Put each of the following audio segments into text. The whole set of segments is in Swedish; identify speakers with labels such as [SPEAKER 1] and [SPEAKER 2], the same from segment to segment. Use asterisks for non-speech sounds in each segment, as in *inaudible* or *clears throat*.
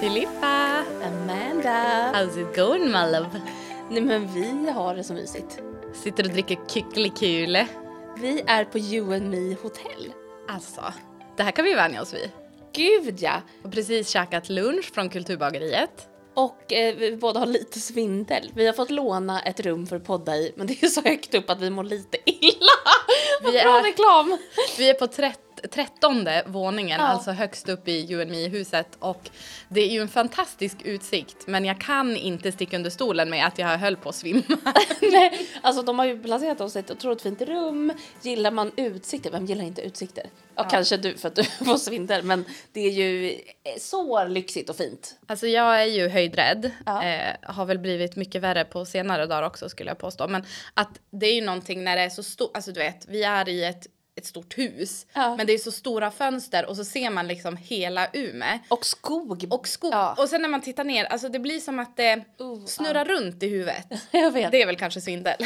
[SPEAKER 1] Filippa!
[SPEAKER 2] Amanda!
[SPEAKER 1] How's it going my love?
[SPEAKER 2] Nej men vi har det så mysigt.
[SPEAKER 1] Sitter och dricker kycklikule.
[SPEAKER 2] Vi är på You and Me hotell.
[SPEAKER 1] Alltså, det här kan vi vänja oss vid.
[SPEAKER 2] Gud ja!
[SPEAKER 1] Och precis käkat lunch från Kulturbageriet.
[SPEAKER 2] Och eh, vi båda har lite svindel. Vi har fått låna ett rum för att podda i men det är så högt upp att vi mår lite illa. *laughs* Vad
[SPEAKER 1] Vi
[SPEAKER 2] bra
[SPEAKER 1] är-
[SPEAKER 2] reklam! *laughs*
[SPEAKER 1] Vi är på trett- trettonde våningen,
[SPEAKER 2] Ja.
[SPEAKER 1] alltså högst upp i UNMI-huset och det är ju en fantastisk utsikt men jag kan inte sticka under stolen med att jag höll på att svimma.
[SPEAKER 2] Nej, alltså de har ju placerat oss i ett otroligt fint rum. Gillar man utsikter? Vem gillar inte utsikter? Ja, kanske du för att du *laughs* får svindel men det är ju eh, så lyxigt och fint.
[SPEAKER 1] Alltså jag är ju höjdrädd.
[SPEAKER 2] Ja.
[SPEAKER 1] Eh, har väl blivit mycket värre på senare dagar också skulle jag påstå. Men att det är ju någonting när det är så stort, alltså du vet, vi är i ett, ett stort hus.
[SPEAKER 2] Ja.
[SPEAKER 1] Men det är så stora fönster och så ser man liksom hela Umeå.
[SPEAKER 2] Och skog!
[SPEAKER 1] Och skog.
[SPEAKER 2] Ja.
[SPEAKER 1] Och sen när man tittar ner, alltså det blir som att det
[SPEAKER 2] Oh,
[SPEAKER 1] snurrar runt i huvudet.
[SPEAKER 2] *laughs* Jag vet.
[SPEAKER 1] Det är väl kanske svindel.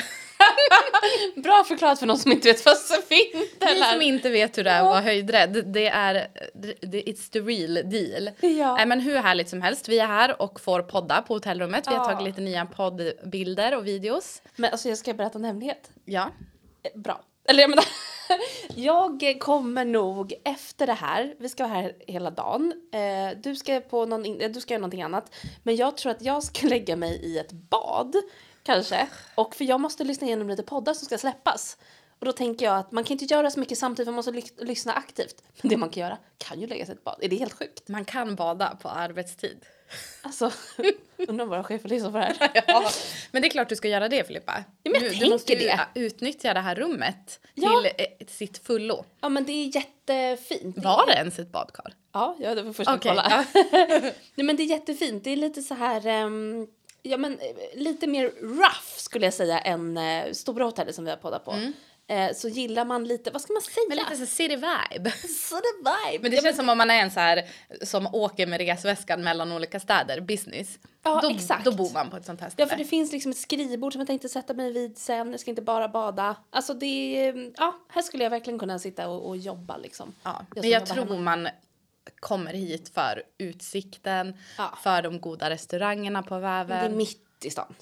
[SPEAKER 2] Bra förklarat för någon som inte vet vad svindel
[SPEAKER 1] Ni
[SPEAKER 2] är.
[SPEAKER 1] som inte vet hur det är att
[SPEAKER 2] Ja.
[SPEAKER 1] vara höjdrädd, det är det, it's the real deal.
[SPEAKER 2] Ja.
[SPEAKER 1] Nej, men hur härligt som helst, vi är här och får podda på hotellrummet. Vi har
[SPEAKER 2] Ja.
[SPEAKER 1] tagit lite nya poddbilder och videos.
[SPEAKER 2] Men alltså jag ska berätta en hemlighet.
[SPEAKER 1] Ja.
[SPEAKER 2] Eh, Bra. Eller jag menar, *laughs* jag kommer nog efter det här, vi ska vara här hela dagen, eh, du ska, på någon, in- eh, du ska göra någonting annat, men jag tror att jag ska *laughs* lägga mig i ett bad, kanske, och för jag måste lyssna igenom lite poddar som ska släppas. Och då tänker jag att man kan inte göra så mycket samtidigt, för man måste ly- lyssna aktivt. Men det man kan göra kan ju lägga sig i ett bad, är det helt sjukt?
[SPEAKER 1] Man kan bada på arbetstid.
[SPEAKER 2] Alltså, *laughs* undrar om våra chefer lyssnar på det här. *laughs*
[SPEAKER 1] Ja. *laughs* Men det är klart du ska göra det Filippa.
[SPEAKER 2] Ja, men jag
[SPEAKER 1] du
[SPEAKER 2] tänker
[SPEAKER 1] måste ju
[SPEAKER 2] det.
[SPEAKER 1] utnyttja det här rummet
[SPEAKER 2] Ja.
[SPEAKER 1] till eh, sitt fullo.
[SPEAKER 2] Ja men det är jättefint.
[SPEAKER 1] Var det ens ett badkar?
[SPEAKER 2] Ja, ja det var först att
[SPEAKER 1] Okej,
[SPEAKER 2] kolla. *laughs* Nej men det är jättefint. Det är lite så här, ehm, ja men eh, lite mer rough skulle jag säga än uh, stora hotellet som vi har poddat på. Eh, så gillar man lite, vad ska man säga?
[SPEAKER 1] Mm. Men lite så city vibe.
[SPEAKER 2] så det vibe.
[SPEAKER 1] Men det känns som om man är en så här som åker med resväskan mellan olika städer, business.
[SPEAKER 2] Ja,
[SPEAKER 1] då,
[SPEAKER 2] exakt.
[SPEAKER 1] då bor man på ett sånt här
[SPEAKER 2] Ja
[SPEAKER 1] ställe.
[SPEAKER 2] för det finns liksom ett skrivbord som jag tänkte sätta mig vid sen. Jag ska inte bara bada. Alltså det är, ehm, ja här skulle jag verkligen kunna sitta och, och jobba liksom.
[SPEAKER 1] ja.
[SPEAKER 2] Jag
[SPEAKER 1] Men
[SPEAKER 2] som
[SPEAKER 1] jag
[SPEAKER 2] jobbar
[SPEAKER 1] tror
[SPEAKER 2] hemma.
[SPEAKER 1] man kommer hit för utsikten,
[SPEAKER 2] Ja.
[SPEAKER 1] för de goda restaurangerna på
[SPEAKER 2] Det är
[SPEAKER 1] väven.
[SPEAKER 2] mitt i stan.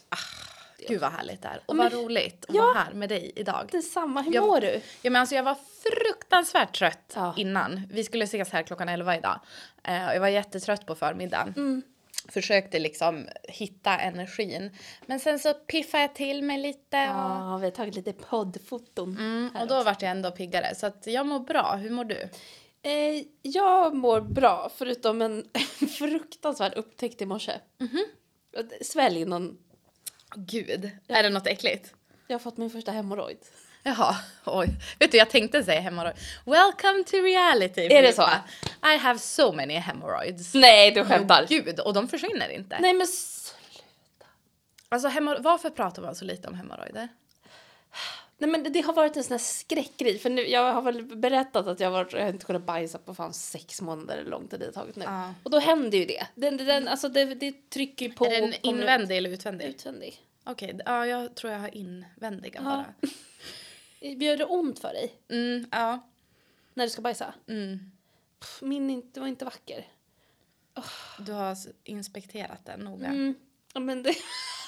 [SPEAKER 1] Gud vad härligt det är. Och
[SPEAKER 2] men-
[SPEAKER 1] vad roligt att
[SPEAKER 2] Ja.
[SPEAKER 1] vara här med dig idag.
[SPEAKER 2] Detsamma, hur
[SPEAKER 1] Jag-
[SPEAKER 2] mår du?
[SPEAKER 1] Ja, men alltså jag var fruktansvärt trött
[SPEAKER 2] Ja.
[SPEAKER 1] innan. Vi skulle ses här klockan 11 idag. Eh, och jag var jättetrött på förmiddagen.
[SPEAKER 2] Mm.
[SPEAKER 1] Försökte liksom hitta energin. Men sen så piffade jag till mig lite. Och,
[SPEAKER 2] Ja, vi har tagit lite poddfoton.
[SPEAKER 1] mm, och då vart jag ändå piggare. Så att jag mår bra. Hur mår du?
[SPEAKER 2] Eh, jag mår bra, förutom en *laughs* fruktansvärd upptäckt i morse. Svälj någon.
[SPEAKER 1] Gud, är det något äckligt?
[SPEAKER 2] Jag har fått min första hemorrojd.
[SPEAKER 1] Jaha, oj. Vet du, jag tänkte säga hemorrojd. Welcome to reality.
[SPEAKER 2] Är det så? Mm,
[SPEAKER 1] Filippa. I have so many hemorrhoids.
[SPEAKER 2] Nej, du
[SPEAKER 1] Åh, Gud, och de försvinner inte.
[SPEAKER 2] Nej, men s-
[SPEAKER 1] Alltså, hemorro- varför pratar man så lite om hemorrojder?
[SPEAKER 2] Nej, men det- det har varit en sån här skräckgrej. För nu, jag har väl berättat att jag, har varit, jag har inte kunnat bajsa på fan sex månader eller hur lång tid det har tagit nu.
[SPEAKER 1] Ja.
[SPEAKER 2] Och då händer ju det. Den, den, alltså det, det trycker ju på.
[SPEAKER 1] Är den
[SPEAKER 2] och kommer
[SPEAKER 1] invändig eller
[SPEAKER 2] ut-
[SPEAKER 1] utvändig?
[SPEAKER 2] Utvändig.
[SPEAKER 1] Okej, d- ja, jag tror jag har invändiga
[SPEAKER 2] Ja.
[SPEAKER 1] bara.
[SPEAKER 2] Gör det ont för dig
[SPEAKER 1] Mm, ja.
[SPEAKER 2] när du ska bajsa?
[SPEAKER 1] Mm.
[SPEAKER 2] Pff, min inte, var inte vacker.
[SPEAKER 1] Du har s- inspekterat den noga.
[SPEAKER 2] Mm. Ja, men det...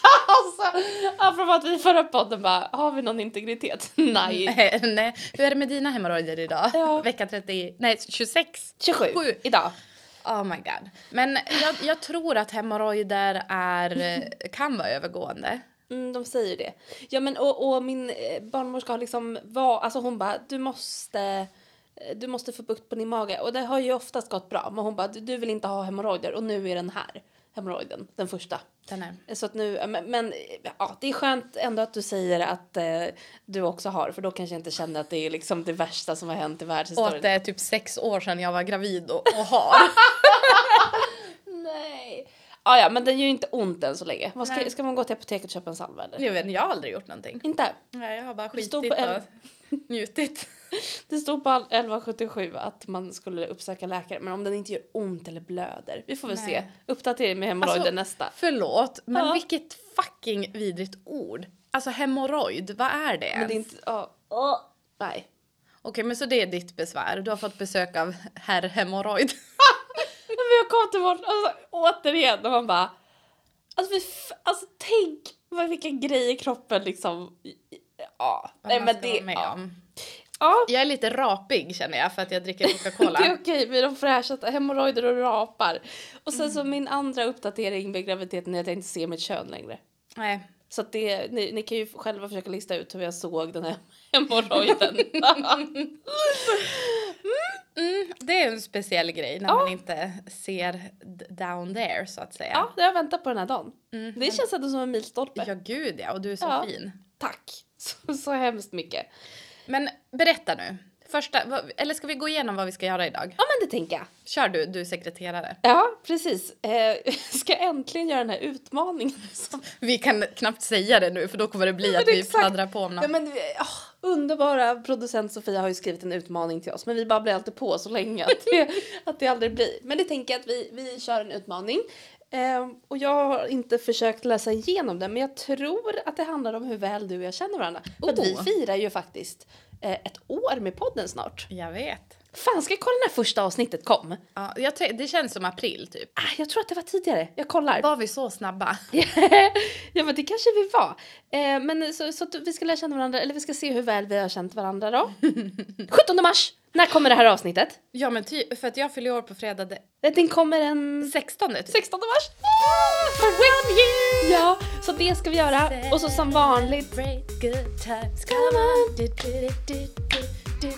[SPEAKER 2] *laughs* alltså, apropå att vi i förra podden bara, har vi någon integritet? *laughs* Nej.
[SPEAKER 1] *laughs* nej. Hur är det med dina hemorrojder idag?
[SPEAKER 2] Ja.
[SPEAKER 1] Vecka 30, nej 26.
[SPEAKER 2] 27
[SPEAKER 1] Sju.
[SPEAKER 2] idag.
[SPEAKER 1] Oh my god. Men jag, jag tror att hemorrojder är,
[SPEAKER 2] *laughs*
[SPEAKER 1] kan vara övergående.
[SPEAKER 2] Mm, de säger det. Ja men och, och min eh, barnmorska har liksom var, alltså hon bara, du måste eh, du måste få bukt på din mage och det har ju oftast gått bra men hon bara du, du vill inte ha hemorrojder och nu är den här hemorrojden den första.
[SPEAKER 1] Den är.
[SPEAKER 2] Så att nu, men, men ja, det är skönt ändå att du säger att eh, du också har för då kanske jag inte känner att det är liksom det värsta som har hänt i
[SPEAKER 1] Och att
[SPEAKER 2] världshistorien.
[SPEAKER 1] det är typ sex år sedan jag var gravid och, och
[SPEAKER 2] *laughs*
[SPEAKER 1] har.
[SPEAKER 2] Nej. Ah, ja, men den gör ju inte ont än så länge. Vad ska,
[SPEAKER 1] Nej.
[SPEAKER 2] ska man gå till apoteket och köpa en salva eller?
[SPEAKER 1] jag, vet, inte, jag har aldrig gjort någonting.
[SPEAKER 2] Inte?
[SPEAKER 1] Nej, jag har bara skitit
[SPEAKER 2] står på
[SPEAKER 1] och
[SPEAKER 2] en-
[SPEAKER 1] *laughs* njutit.
[SPEAKER 2] Det stod på all- 1177 att man skulle uppsöka läkare, men om den inte gör ont eller blöder. Vi får väl
[SPEAKER 1] Nej.
[SPEAKER 2] se. Uppdatering med hemorrojder
[SPEAKER 1] Alltså-
[SPEAKER 2] nästa.
[SPEAKER 1] Förlåt, men
[SPEAKER 2] Ja.
[SPEAKER 1] vilket fucking vidrigt ord. Alltså hemorrojd, vad är det ens?
[SPEAKER 2] Men det är inte... ja Åh. Nej. *laughs*
[SPEAKER 1] Okej, men så det är ditt besvär. Du har fått besök av herr hemorrojd.
[SPEAKER 2] Men men jag kom till vården och så, återigen och man bara... Alltså, vi, f- alltså tänk vad, vilka grejer kroppen liksom... Ja,
[SPEAKER 1] Vad
[SPEAKER 2] nej
[SPEAKER 1] man
[SPEAKER 2] men
[SPEAKER 1] ska
[SPEAKER 2] det...
[SPEAKER 1] vara med
[SPEAKER 2] Ja.
[SPEAKER 1] om.
[SPEAKER 2] ja.
[SPEAKER 1] Jag är lite rapig känner jag för att jag dricker Coca-Cola.
[SPEAKER 2] *laughs* Det är okej, vi är de fräschaste, hemorrojder och rapar. Och sen så min andra uppdatering med graviditeten är att jag inte ser mitt kön längre.
[SPEAKER 1] Nej.
[SPEAKER 2] Så att det, ni, ni kan ju själva försöka lista ut hur jag såg den här *laughs* hemorrojden.
[SPEAKER 1] Mm, det är en speciell grej när
[SPEAKER 2] Ja.
[SPEAKER 1] man inte ser d- down there så att säga.
[SPEAKER 2] ja, det har jag väntat på den här dagen.
[SPEAKER 1] Mm.
[SPEAKER 2] Det känns ändå som en milstolpe.
[SPEAKER 1] Ja gud ja, och du är så
[SPEAKER 2] Ja.
[SPEAKER 1] fin.
[SPEAKER 2] Tack så, så hemskt mycket.
[SPEAKER 1] Men berätta nu. Första, vad- eller ska vi gå igenom vad vi ska göra idag?
[SPEAKER 2] Ja men det tänker jag.
[SPEAKER 1] Kör du, du är sekreterare.
[SPEAKER 2] Ja precis. Eh, *laughs* ska jag äntligen göra den här utmaningen. *laughs* Som,
[SPEAKER 1] Vi kan knappt säga det nu för då kommer det bli
[SPEAKER 2] men
[SPEAKER 1] att vi
[SPEAKER 2] exakt.
[SPEAKER 1] fladdrar på om något.
[SPEAKER 2] ja, men, åh, underbara producent Sofia har ju skrivit en utmaning till oss men vi babblar alltid på så länge att
[SPEAKER 1] *laughs*
[SPEAKER 2] det, att det aldrig blir. Men det tänker jag att vi, vi kör en utmaning. Eh, och jag har inte försökt läsa igenom den men jag tror att det handlar om hur väl du och jag känner varandra. För att vi
[SPEAKER 1] Oh.
[SPEAKER 2] firar ju faktiskt eh, ett år med podden snart.
[SPEAKER 1] Jag vet.
[SPEAKER 2] Fan ska jag kolla när första avsnittet kom?
[SPEAKER 1] Ja, jag t- det känns som april typ.
[SPEAKER 2] Ah, jag tror att det var tidigare. Jag kollar.
[SPEAKER 1] Var vi så snabba?
[SPEAKER 2] ja men det kanske vi var. Eh, men så, så att vi ska lära känna varandra, eller vi ska se hur väl vi har känt varandra då. 17 mars! När kommer det här avsnittet?
[SPEAKER 1] Ja men ty- för att jag fyller år på fredag den
[SPEAKER 2] Eh, Den kommer den
[SPEAKER 1] 16 typ.
[SPEAKER 2] 16 mars! Win you! Ja, så det ska vi göra. Och så som vanligt...
[SPEAKER 1] Celebrate good times,
[SPEAKER 2] Come on.
[SPEAKER 1] Du, du, du, du, du,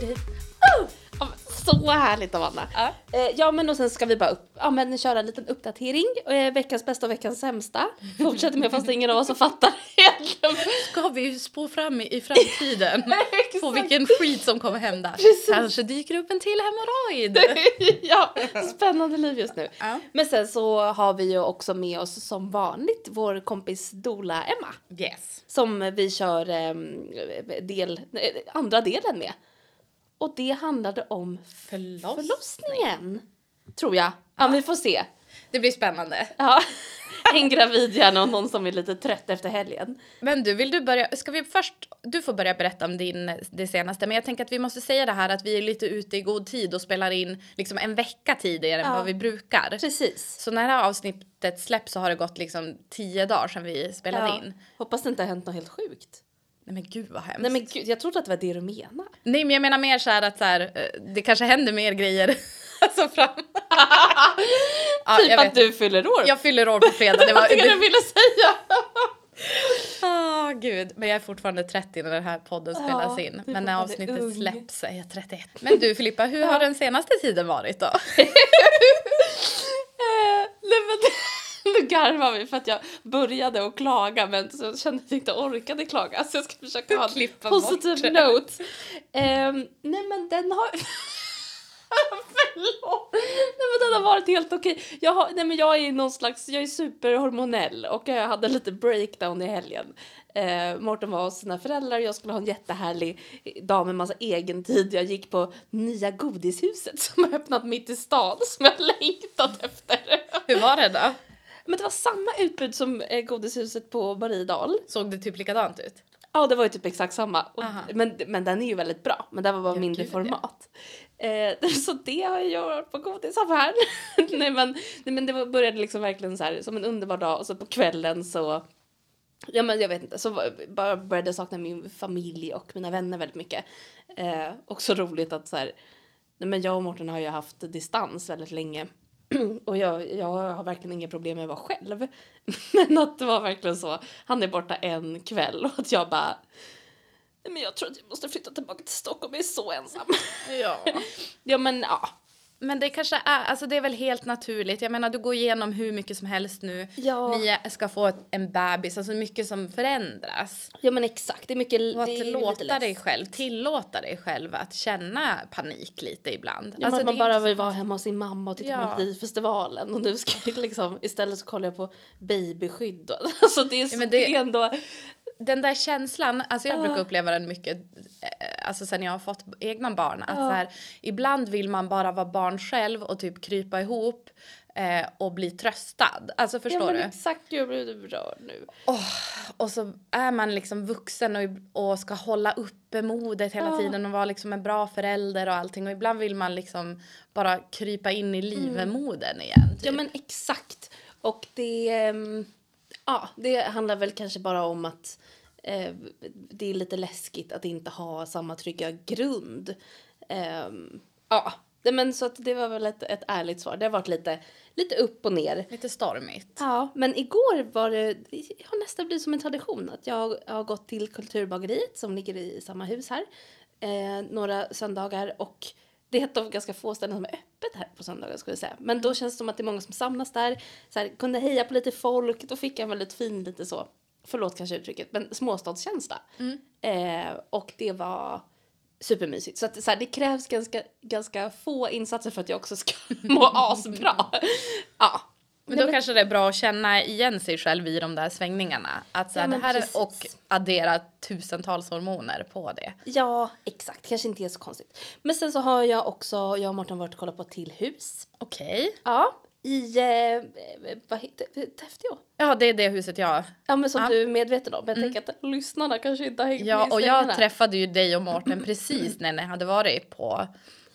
[SPEAKER 1] du, du.
[SPEAKER 2] Oh! Ja, men Så härligt av Anna!
[SPEAKER 1] Ja.
[SPEAKER 2] Eh, ja men och sen ska vi bara upp, ja, men köra en liten uppdatering. Eh, veckans bästa och veckans sämsta. Fortsätter med fast ingen av oss som fattar *laughs* egentligen.
[SPEAKER 1] Ska vi ju spå fram i, i *laughs* framtiden på
[SPEAKER 2] Exakt.
[SPEAKER 1] vilken skit som kommer hända.
[SPEAKER 2] Precis.
[SPEAKER 1] Kanske dyker upp en till *laughs* hemorrojd.
[SPEAKER 2] *laughs* ja, spännande liv just nu.
[SPEAKER 1] Ja.
[SPEAKER 2] Men sen så har vi ju också med oss som vanligt vår kompis Dola Emma.
[SPEAKER 1] Yes.
[SPEAKER 2] Som vi kör em, del, eh, andra delen med. Och det handlade om
[SPEAKER 1] Förloss.
[SPEAKER 2] förlossningen. Tror jag. Ja, vi får se.
[SPEAKER 1] Det blir spännande.
[SPEAKER 2] Ja. *laughs* En gravid hjärna och någon som är lite trött efter helgen.
[SPEAKER 1] Men du, vill du börja? Ska vi först? Du får börja berätta om din, det senaste. Men jag tänker att vi måste säga det här att vi är lite ute i god tid och spelar in liksom en vecka tidigare än
[SPEAKER 2] Ja.
[SPEAKER 1] vad vi brukar.
[SPEAKER 2] Precis.
[SPEAKER 1] Så när det här avsnittet släpps så har det gått liksom tio dagar sedan vi spelade
[SPEAKER 2] Ja.
[SPEAKER 1] in.
[SPEAKER 2] Hoppas det inte har hänt något helt sjukt.
[SPEAKER 1] Nej men gud vad hemskt.
[SPEAKER 2] Nej men gud, jag trodde att det var det du menade.
[SPEAKER 1] Nej men jag menar mer så här att så här, eh, det kanske händer mer
[SPEAKER 2] *laughs*
[SPEAKER 1] grejer. alltså fram. Ja,
[SPEAKER 2] typ
[SPEAKER 1] jag
[SPEAKER 2] att
[SPEAKER 1] vet.
[SPEAKER 2] du fyller år.
[SPEAKER 1] Jag fyller år på fredag. Det
[SPEAKER 2] *laughs*
[SPEAKER 1] var,
[SPEAKER 2] det du
[SPEAKER 1] det,
[SPEAKER 2] ville säga.
[SPEAKER 1] ah, gud. Men jag är fortfarande 30 när den här podden
[SPEAKER 2] Ja,
[SPEAKER 1] spelas in.
[SPEAKER 2] du är
[SPEAKER 1] Men när
[SPEAKER 2] fortfarande
[SPEAKER 1] avsnittet
[SPEAKER 2] ung.
[SPEAKER 1] släpps är jag 31. Men du Filippa, hur har den senaste tiden varit
[SPEAKER 2] *laughs*
[SPEAKER 1] då?
[SPEAKER 2] Eh, Nej men *laughs* nu garvar vi för att jag började att klaga men så kände jag att jag inte orkade klaga så jag ska försöka ha en
[SPEAKER 1] Klippa bort
[SPEAKER 2] positiv
[SPEAKER 1] det.
[SPEAKER 2] note. Ehm, nej men den har... *laughs* Förlåt! Nej men den har varit helt okej. Jag, har, nej, men jag är någon slags, jag är superhormonell och jag hade lite breakdown i helgen. Eh, Mårten var hos sina föräldrar och jag skulle ha en jättehärlig dag med massa egen tid. Jag gick på nya godishuset som har öppnat mitt i stan som jag *laughs* längtat efter.
[SPEAKER 1] Hur var det då?
[SPEAKER 2] Men det var samma utbud som eh, godishuset på Mariedal.
[SPEAKER 1] Såg det typ likadant ut?
[SPEAKER 2] Ja, det var ju typ exakt samma. Och,
[SPEAKER 1] Aha.
[SPEAKER 2] men, men den är ju väldigt bra, men det var bara
[SPEAKER 1] Ja,
[SPEAKER 2] mindre
[SPEAKER 1] gud, ja.
[SPEAKER 2] format. Eh, *laughs* så det har jag gjort på godisaffären. *laughs* nej, men, nej men det var, började liksom verkligen så här som en underbar dag och så på kvällen så Ja men jag vet inte, så var- bara började jag sakna min familj och mina vänner väldigt mycket. Eh, också roligt att så här, nej men jag och Mårten har ju haft distans väldigt länge. *clears throat* Och jag, jag har verkligen inga problem med att vara själv. *laughs* Men att det var verkligen så, han är borta en kväll och att jag bara Nej men jag tror att jag måste flytta tillbaka till Stockholm, jag är så ensam.
[SPEAKER 1] Ja.
[SPEAKER 2] *laughs* ja men ja.
[SPEAKER 1] Men det kanske är, alltså det är väl helt naturligt. Jag menar du går igenom hur mycket som helst nu.
[SPEAKER 2] Ja.
[SPEAKER 1] Ni ska få ett, en bebis, alltså mycket som förändras.
[SPEAKER 2] Ja men exakt, det är mycket...
[SPEAKER 1] Och att
[SPEAKER 2] det är ju lite
[SPEAKER 1] låta
[SPEAKER 2] less.
[SPEAKER 1] dig själv, tillåta dig själv att känna panik lite ibland.
[SPEAKER 2] Ja,
[SPEAKER 1] Alltså,
[SPEAKER 2] men
[SPEAKER 1] det
[SPEAKER 2] man
[SPEAKER 1] är
[SPEAKER 2] bara
[SPEAKER 1] inte-
[SPEAKER 2] vill vara hemma hos sin mamma och titta på
[SPEAKER 1] Ja.
[SPEAKER 2] Melodifestivalen och nu ska jag liksom istället så kollar jag på babyskydd. och- *laughs* Alltså det är, så,
[SPEAKER 1] Ja, men
[SPEAKER 2] det...
[SPEAKER 1] det-
[SPEAKER 2] är ändå...
[SPEAKER 1] Den där känslan, alltså jag
[SPEAKER 2] Ja.
[SPEAKER 1] brukar uppleva den mycket eh, alltså sen jag har fått egna barn. Att så
[SPEAKER 2] Ja.
[SPEAKER 1] här, ibland vill man bara vara barn själv och typ krypa ihop. eh, och bli tröstad. Alltså
[SPEAKER 2] ja,
[SPEAKER 1] förstår
[SPEAKER 2] men
[SPEAKER 1] du?
[SPEAKER 2] Exakt, jag blir rörd nu.
[SPEAKER 1] Åh, och så är man liksom vuxen och, och ska hålla uppe modet hela
[SPEAKER 2] Ja.
[SPEAKER 1] tiden och vara liksom en bra förälder och allting. Och ibland vill man liksom bara krypa in i
[SPEAKER 2] Mm.
[SPEAKER 1] livemoden igen. Typ.
[SPEAKER 2] Ja men exakt. Och det, ehm, ja, det handlar väl kanske bara om att eh, det är lite läskigt att inte ha samma trygga grund. Ehm, ja, Nej, men så att det var väl ett, ett ärligt svar. Det har varit lite, lite upp och ner.
[SPEAKER 1] Lite stormigt.
[SPEAKER 2] Ja, men igår var det, det har nästan blivit som en tradition att jag har gått till Kulturbageriet som ligger i samma hus här eh, några söndagar och det är ett av ganska få ställen som är öppet här på söndagar skulle jag säga. Men då känns det som att det är många som samlas där, så här, kunde heja på lite folk, då fick jag en väldigt fin lite så, förlåt kanske uttrycket, men småstadskänsla. Eh, och det var supermysigt. Så, att, så här, det krävs ganska, ganska få insatser för att jag också ska *laughs* må asbra. ja.
[SPEAKER 1] Men då kanske det är bra att känna igen sig själv i de där svängningarna. Att så
[SPEAKER 2] Ja,
[SPEAKER 1] här,
[SPEAKER 2] men
[SPEAKER 1] det här
[SPEAKER 2] precis.
[SPEAKER 1] är, och addera tusentals hormoner på det.
[SPEAKER 2] Ja, exakt. Kanske inte är så konstigt. Men sen så har jag också, jag och Mårten varit och kollat på ett till hus.
[SPEAKER 1] Okej.
[SPEAKER 2] Ja. I, eh, vad heter det? Täfteå?
[SPEAKER 1] Ja, det är det huset jag...
[SPEAKER 2] Ja men som
[SPEAKER 1] Ja. Mm.
[SPEAKER 2] du är medveten om. Men jag tänker att lyssnarna kanske inte har hängt med
[SPEAKER 1] Ja,
[SPEAKER 2] i
[SPEAKER 1] och
[SPEAKER 2] svängarna.
[SPEAKER 1] jag träffade ju dig och Mårten precis när ni hade varit på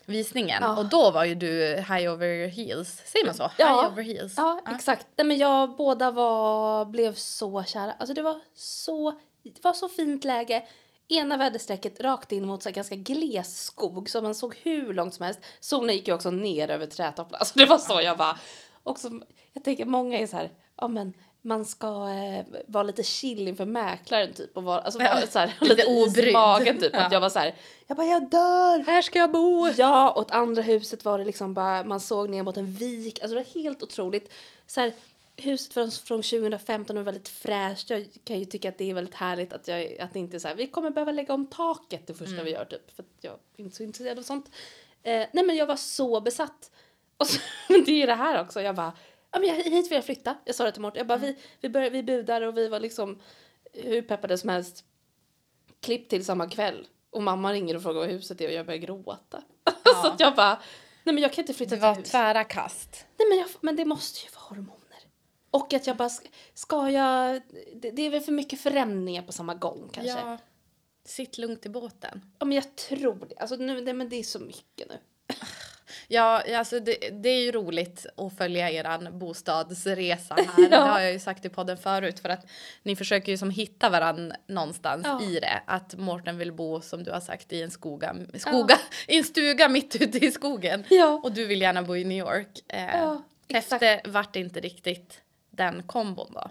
[SPEAKER 1] visningen.
[SPEAKER 2] Ja.
[SPEAKER 1] Och då var ju du high over heels. Säger man så?
[SPEAKER 2] Ja.
[SPEAKER 1] High over heels.
[SPEAKER 2] Ja, exakt. Nej men jag, båda var, blev så kära. Alltså det var så, det var så fint läge. Ena väderstrecket rakt in mot så här ganska gles skog så man såg hur långt som helst. Solen gick ju också ner över trädtopparna. Alltså det var så jag bara. Och så, jag tänker många är så här, ja men man ska eh, vara lite chill inför mäklaren typ och vara, alltså,
[SPEAKER 1] Ja,
[SPEAKER 2] *laughs* vara så här,
[SPEAKER 1] lite
[SPEAKER 2] lite is i
[SPEAKER 1] obrydd.
[SPEAKER 2] magen typ.
[SPEAKER 1] Ja.
[SPEAKER 2] Att jag var så här, jag bara jag dör!
[SPEAKER 1] Här ska jag bo!
[SPEAKER 2] Ja, och åt andra huset var det liksom bara, man såg ner mot en vik. Alltså det var helt otroligt. Så här, huset från, från 2015 var väldigt fräscht. Jag kan ju tycka att det är väldigt härligt att, jag, att det inte är så här, vi kommer behöva lägga om taket det första vi gör typ. För att jag är inte så intresserad av sånt. Eh, nej men jag var så besatt. Och så, *laughs* men det är ju det här också. Jag bara, ja men jag, hit vill jag flytta. Jag sa det till Mårten. Jag bara, vi, vi, började, vi budar och vi var liksom hur peppade som helst. Klipp till samma kväll. Och mamma ringer och frågar vad huset är och jag börjar gråta. *laughs* så att jag bara, nej men jag kan inte flytta
[SPEAKER 1] Det
[SPEAKER 2] till
[SPEAKER 1] var
[SPEAKER 2] hus.
[SPEAKER 1] tvära kast.
[SPEAKER 2] Nej men, jag, men det måste ju vara hormoner. Och att jag bara, ska- ska jag, det, det är väl för mycket förändringar på samma gång kanske. Ja,
[SPEAKER 1] Ja. Sitt lugnt i båten.
[SPEAKER 2] men jag tror det. Alltså nu, nej men det är så mycket nu.
[SPEAKER 1] Ja, alltså det, det är ju roligt att följa eran bostadsresa här. Det
[SPEAKER 2] *laughs* Ja.
[SPEAKER 1] har jag ju sagt i podden förut för att ni försöker ju som hitta varann någonstans
[SPEAKER 2] Ja.
[SPEAKER 1] i det. Att Mårten vill bo som du har sagt i en skoga, skoga *laughs* i en stuga mitt ute i skogen.
[SPEAKER 2] Ja.
[SPEAKER 1] Och du vill gärna bo i New York. Eh,
[SPEAKER 2] Ja, exakt.
[SPEAKER 1] efter vart det inte riktigt den kombon då.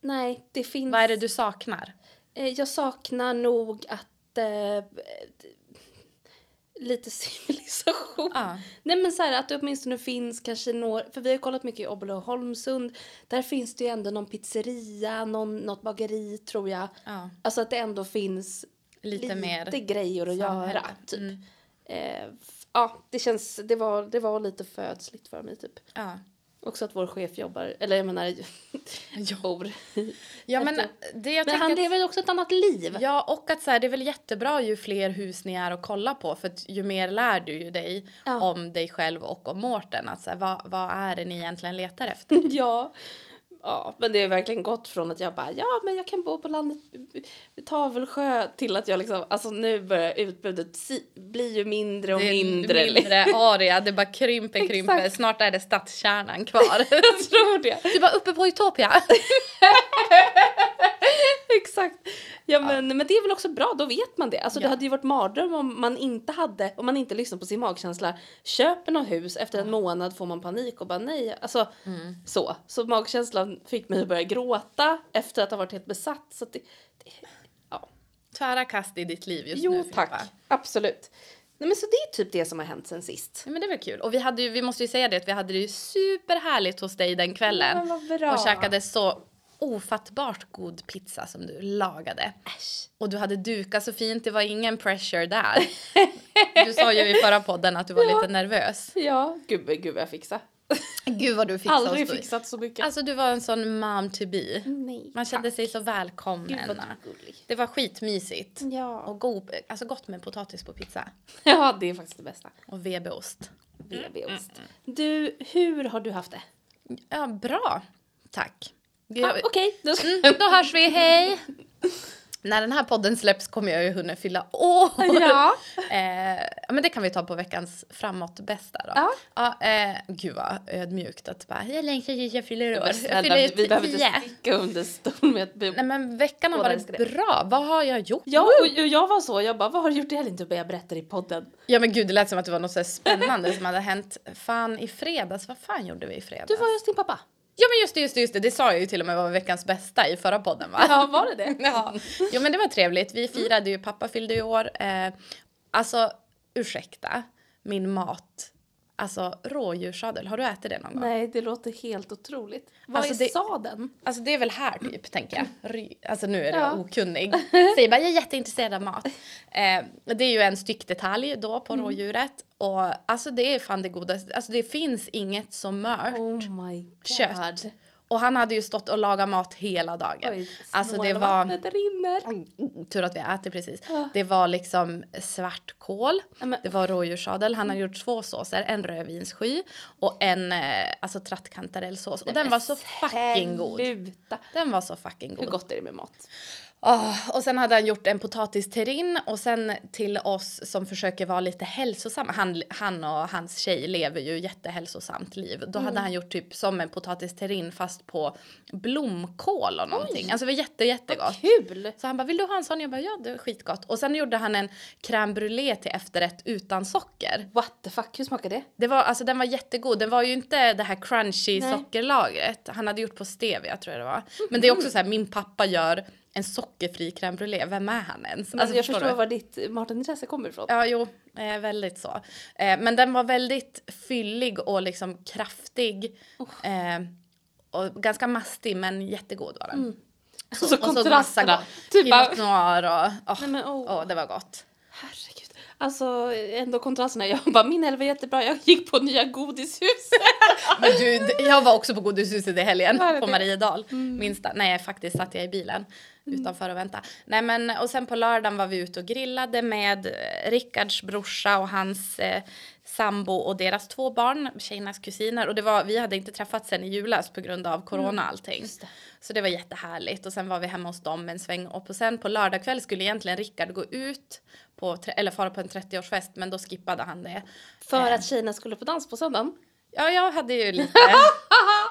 [SPEAKER 2] Nej, det finns.
[SPEAKER 1] Vad är det du saknar?
[SPEAKER 2] Eh, Jag saknar nog att... Eh, eh, lite *laughs* civilisation.
[SPEAKER 1] Ja.
[SPEAKER 2] Nej men så här, att det åtminstone finns kanske några... För vi har kollat mycket i Obbola och Holmsund. Där finns det ju ändå någon pizzeria, någon, något bageri tror jag.
[SPEAKER 1] Ja.
[SPEAKER 2] Alltså att det ändå finns
[SPEAKER 1] Lite mer
[SPEAKER 2] grejer att
[SPEAKER 1] samhälle. Mm.
[SPEAKER 2] göra. Typ. Eh, f- ja, det känns... Det var, det var lite födsligt för mig typ.
[SPEAKER 1] Ja.
[SPEAKER 2] Också att vår chef jobbar, eller jag menar *laughs* jobbar.
[SPEAKER 1] Ja men det jag
[SPEAKER 2] Men
[SPEAKER 1] tänker
[SPEAKER 2] han
[SPEAKER 1] att-
[SPEAKER 2] lever ju också ett annat liv.
[SPEAKER 1] Ja, och att så här, det är väl jättebra ju fler hus ni är att kolla på för att ju mer lär du ju dig
[SPEAKER 2] Ja.
[SPEAKER 1] om dig själv och om Mårten. Att så här, vad, vad är det ni egentligen letar efter?
[SPEAKER 2] *laughs* Ja. Ja, men det är verkligen gått från att jag bara, ja men jag kan bo på landet vid Tavelsjö till att jag liksom, alltså nu börjar utbudet si, bli ju mindre och
[SPEAKER 1] Det är en
[SPEAKER 2] mindre. *laughs*
[SPEAKER 1] mindre area, det bara krymper, krymper.
[SPEAKER 2] Exakt.
[SPEAKER 1] Snart är det stadskärnan kvar.
[SPEAKER 2] *laughs* Jag tror det.
[SPEAKER 1] du bara uppe på Utopia.
[SPEAKER 2] Exakt. Ja, men, men det är väl också bra, då vet man det. Alltså det
[SPEAKER 1] Ja.
[SPEAKER 2] hade ju varit mardröm om man inte hade, om man inte lyssnar på sin magkänsla. Köper något hus, efter en månad får man panik och bara nej. Alltså
[SPEAKER 1] Mm.
[SPEAKER 2] så. Så magkänslan fick mig att börja gråta efter att ha varit helt besatt. Så att det, det, ja.
[SPEAKER 1] Tvära kast i ditt liv just
[SPEAKER 2] Jo
[SPEAKER 1] nu.
[SPEAKER 2] tack,
[SPEAKER 1] Filippa.
[SPEAKER 2] absolut. Nej men så det är typ det som har hänt sen sist.
[SPEAKER 1] Ja, men det var kul. Och vi, hade ju, vi måste ju säga det att vi hade det ju superhärligt hos dig den kvällen.
[SPEAKER 2] Ja, men vad bra.
[SPEAKER 1] Och käkade så ofattbart god pizza som du lagade.
[SPEAKER 2] Äsch.
[SPEAKER 1] Och du hade dukat så fint, det var ingen pressure där. Du sa ju i förra podden att du var lite nervös.
[SPEAKER 2] Ja, gud, gud vad jag fixade.
[SPEAKER 1] Gud vad du fixade
[SPEAKER 2] Aldrig
[SPEAKER 1] oss då.
[SPEAKER 2] fixat så mycket.
[SPEAKER 1] Alltså du var en sån mom to be.
[SPEAKER 2] Nej.
[SPEAKER 1] Man kände
[SPEAKER 2] tack.
[SPEAKER 1] sig så
[SPEAKER 2] Gud vad
[SPEAKER 1] välkommen.
[SPEAKER 2] du är gullig.
[SPEAKER 1] Det var skitmysigt.
[SPEAKER 2] Ja.
[SPEAKER 1] Och god, alltså gott med potatis på pizza.
[SPEAKER 2] ja, det är faktiskt det bästa.
[SPEAKER 1] Och VB-ost.
[SPEAKER 2] Mm, VB-ost. Du, hur har du haft det?
[SPEAKER 1] Ja, bra. Tack.
[SPEAKER 2] Ah,
[SPEAKER 1] Jag,
[SPEAKER 2] Okej, då ska
[SPEAKER 1] Mm, då hörs vi, hej! När den här podden släpps kommer jag ju hunnit fylla år.
[SPEAKER 2] Ja.
[SPEAKER 1] *laughs* Eh, ja, men det kan vi ta på veckans framåt bästa då.
[SPEAKER 2] Ja.
[SPEAKER 1] eh, gud vad ödmjukt att bara, jag längtar tills jag fyller år.
[SPEAKER 2] Men
[SPEAKER 1] jag
[SPEAKER 2] snälla,
[SPEAKER 1] fyller
[SPEAKER 2] vi, vi behöver
[SPEAKER 1] tio.
[SPEAKER 2] inte sticka under stol med att bu-
[SPEAKER 1] Nej men veckan har
[SPEAKER 2] Båda
[SPEAKER 1] varit
[SPEAKER 2] älskar det.
[SPEAKER 1] bra. Vad har jag gjort?
[SPEAKER 2] Ja, och, och jag var så. Jag bara, vad har du gjort i helgen? Du bara, jag berättar i podden.
[SPEAKER 1] Ja men gud det lät som att det var något så här spännande som hade hänt. Fan i fredags, vad fan gjorde vi i fredags?
[SPEAKER 2] Du var just din pappa.
[SPEAKER 1] Ja men just det, just det, just det. Det sa jag ju till och med var veckans bästa i förra podden va?
[SPEAKER 2] *laughs* Ja, var det det?
[SPEAKER 1] *laughs* Ja. Jo men det var trevligt.
[SPEAKER 2] Mm.
[SPEAKER 1] Vi firade ju, pappa fyllde ju år. Eh, alltså ursäkta, min mat. Alltså rådjurssadel, har du ätit det någon gång?
[SPEAKER 2] Nej, det låter helt otroligt. Vad
[SPEAKER 1] Alltså,
[SPEAKER 2] är
[SPEAKER 1] det-
[SPEAKER 2] sadeln?
[SPEAKER 1] Alltså det är väl här typ tänker jag. Ry- Alltså nu är det
[SPEAKER 2] Ja. *laughs*
[SPEAKER 1] okunnig. Säger bara jag är jätteintresserad av mat. Eh, det är ju en styckdetalj då
[SPEAKER 2] Mm.
[SPEAKER 1] på rådjuret. Och alltså det är fan det godaste. Alltså det finns inget som mört.
[SPEAKER 2] Oh my god.
[SPEAKER 1] Kött. Och han hade ju stått och lagat mat hela dagen.
[SPEAKER 2] Oj,
[SPEAKER 1] alltså det
[SPEAKER 2] snåla
[SPEAKER 1] var...
[SPEAKER 2] Vattnet rinner.
[SPEAKER 1] Tur att vi äter precis.
[SPEAKER 2] Ja.
[SPEAKER 1] Det var liksom svartkål,
[SPEAKER 2] Ja, men-
[SPEAKER 1] det var rådjurssadel. Han har gjort två såser, en rödvinssky och en eh, alltså trattkantarellsås. Och den var så fucking god.
[SPEAKER 2] Sluta.
[SPEAKER 1] Den var så fucking
[SPEAKER 2] Hur
[SPEAKER 1] god.
[SPEAKER 2] gott är det med mat?
[SPEAKER 1] Åh, och sen hade han gjort en potatisterrin och sen till oss som försöker vara lite hälsosamma. Han, han och hans tjej lever ju jättehälsosamt liv. Då
[SPEAKER 2] Mm.
[SPEAKER 1] hade han gjort typ som en potatisterrin fast på blomkål och någonting. Alltså det var jätte, jättegott.
[SPEAKER 2] Kul!
[SPEAKER 1] Så han bara, vill du ha en sån? Jag bara, ja det är skitgott. Och sen gjorde han en crème brûlée till efterrätt utan socker.
[SPEAKER 2] What the fuck, hur smakar det?
[SPEAKER 1] Det var, alltså den var jättegod. Den var ju inte det här crunchy
[SPEAKER 2] Nej.
[SPEAKER 1] sockerlagret. Han hade gjort på stevia tror jag det var. Men det är också så här, min pappa gör en sockerfri crème brûlée. Vem är han ens?
[SPEAKER 2] Men
[SPEAKER 1] Alltså,
[SPEAKER 2] jag
[SPEAKER 1] förstår
[SPEAKER 2] förstår
[SPEAKER 1] du?
[SPEAKER 2] var ditt matintresse kommer ifrån.
[SPEAKER 1] Ja, jo, eh, väldigt så. Eh, men den var väldigt fyllig och liksom kraftig. Eh, och ganska mastig men jättegod var den.
[SPEAKER 2] Alltså, Så, så
[SPEAKER 1] Och så massa
[SPEAKER 2] Mm. kontrasterna.
[SPEAKER 1] gott.
[SPEAKER 2] Typ bara,
[SPEAKER 1] Pinot noir och... åh,
[SPEAKER 2] nej men åh.
[SPEAKER 1] åh, det var gott.
[SPEAKER 2] Herregud. Alltså ändå kontrasterna. Jag bara, min älv var jättebra. Jag gick på
[SPEAKER 1] *laughs*
[SPEAKER 2] nya godishuset.
[SPEAKER 1] Men du, d- jag var också på Godishuset i helgen
[SPEAKER 2] Ja, jag
[SPEAKER 1] på
[SPEAKER 2] vet. Mm.
[SPEAKER 1] Mariedal. Minns det. Nej, faktiskt satt jag i bilen utanför och väntade. Nej, men, och sen på lördagen var vi ute och grillade med eh, Rickards brorsa och hans eh, sambo och deras två barn, tjejernas kusiner. Och det var, vi hade inte träffats sen i julas på grund av corona och allting.
[SPEAKER 2] Mm. Just det.
[SPEAKER 1] Så det var jättehärligt. Och sen var vi hemma hos dem en sväng. upp. Och sen på lördag kväll skulle egentligen Rickard gå ut på, tre- eller fara på en 30-årsfest, men då skippade han det.
[SPEAKER 2] För att tjejerna skulle på dans på söndagen.
[SPEAKER 1] Ja, jag hade ju *laughs* lite...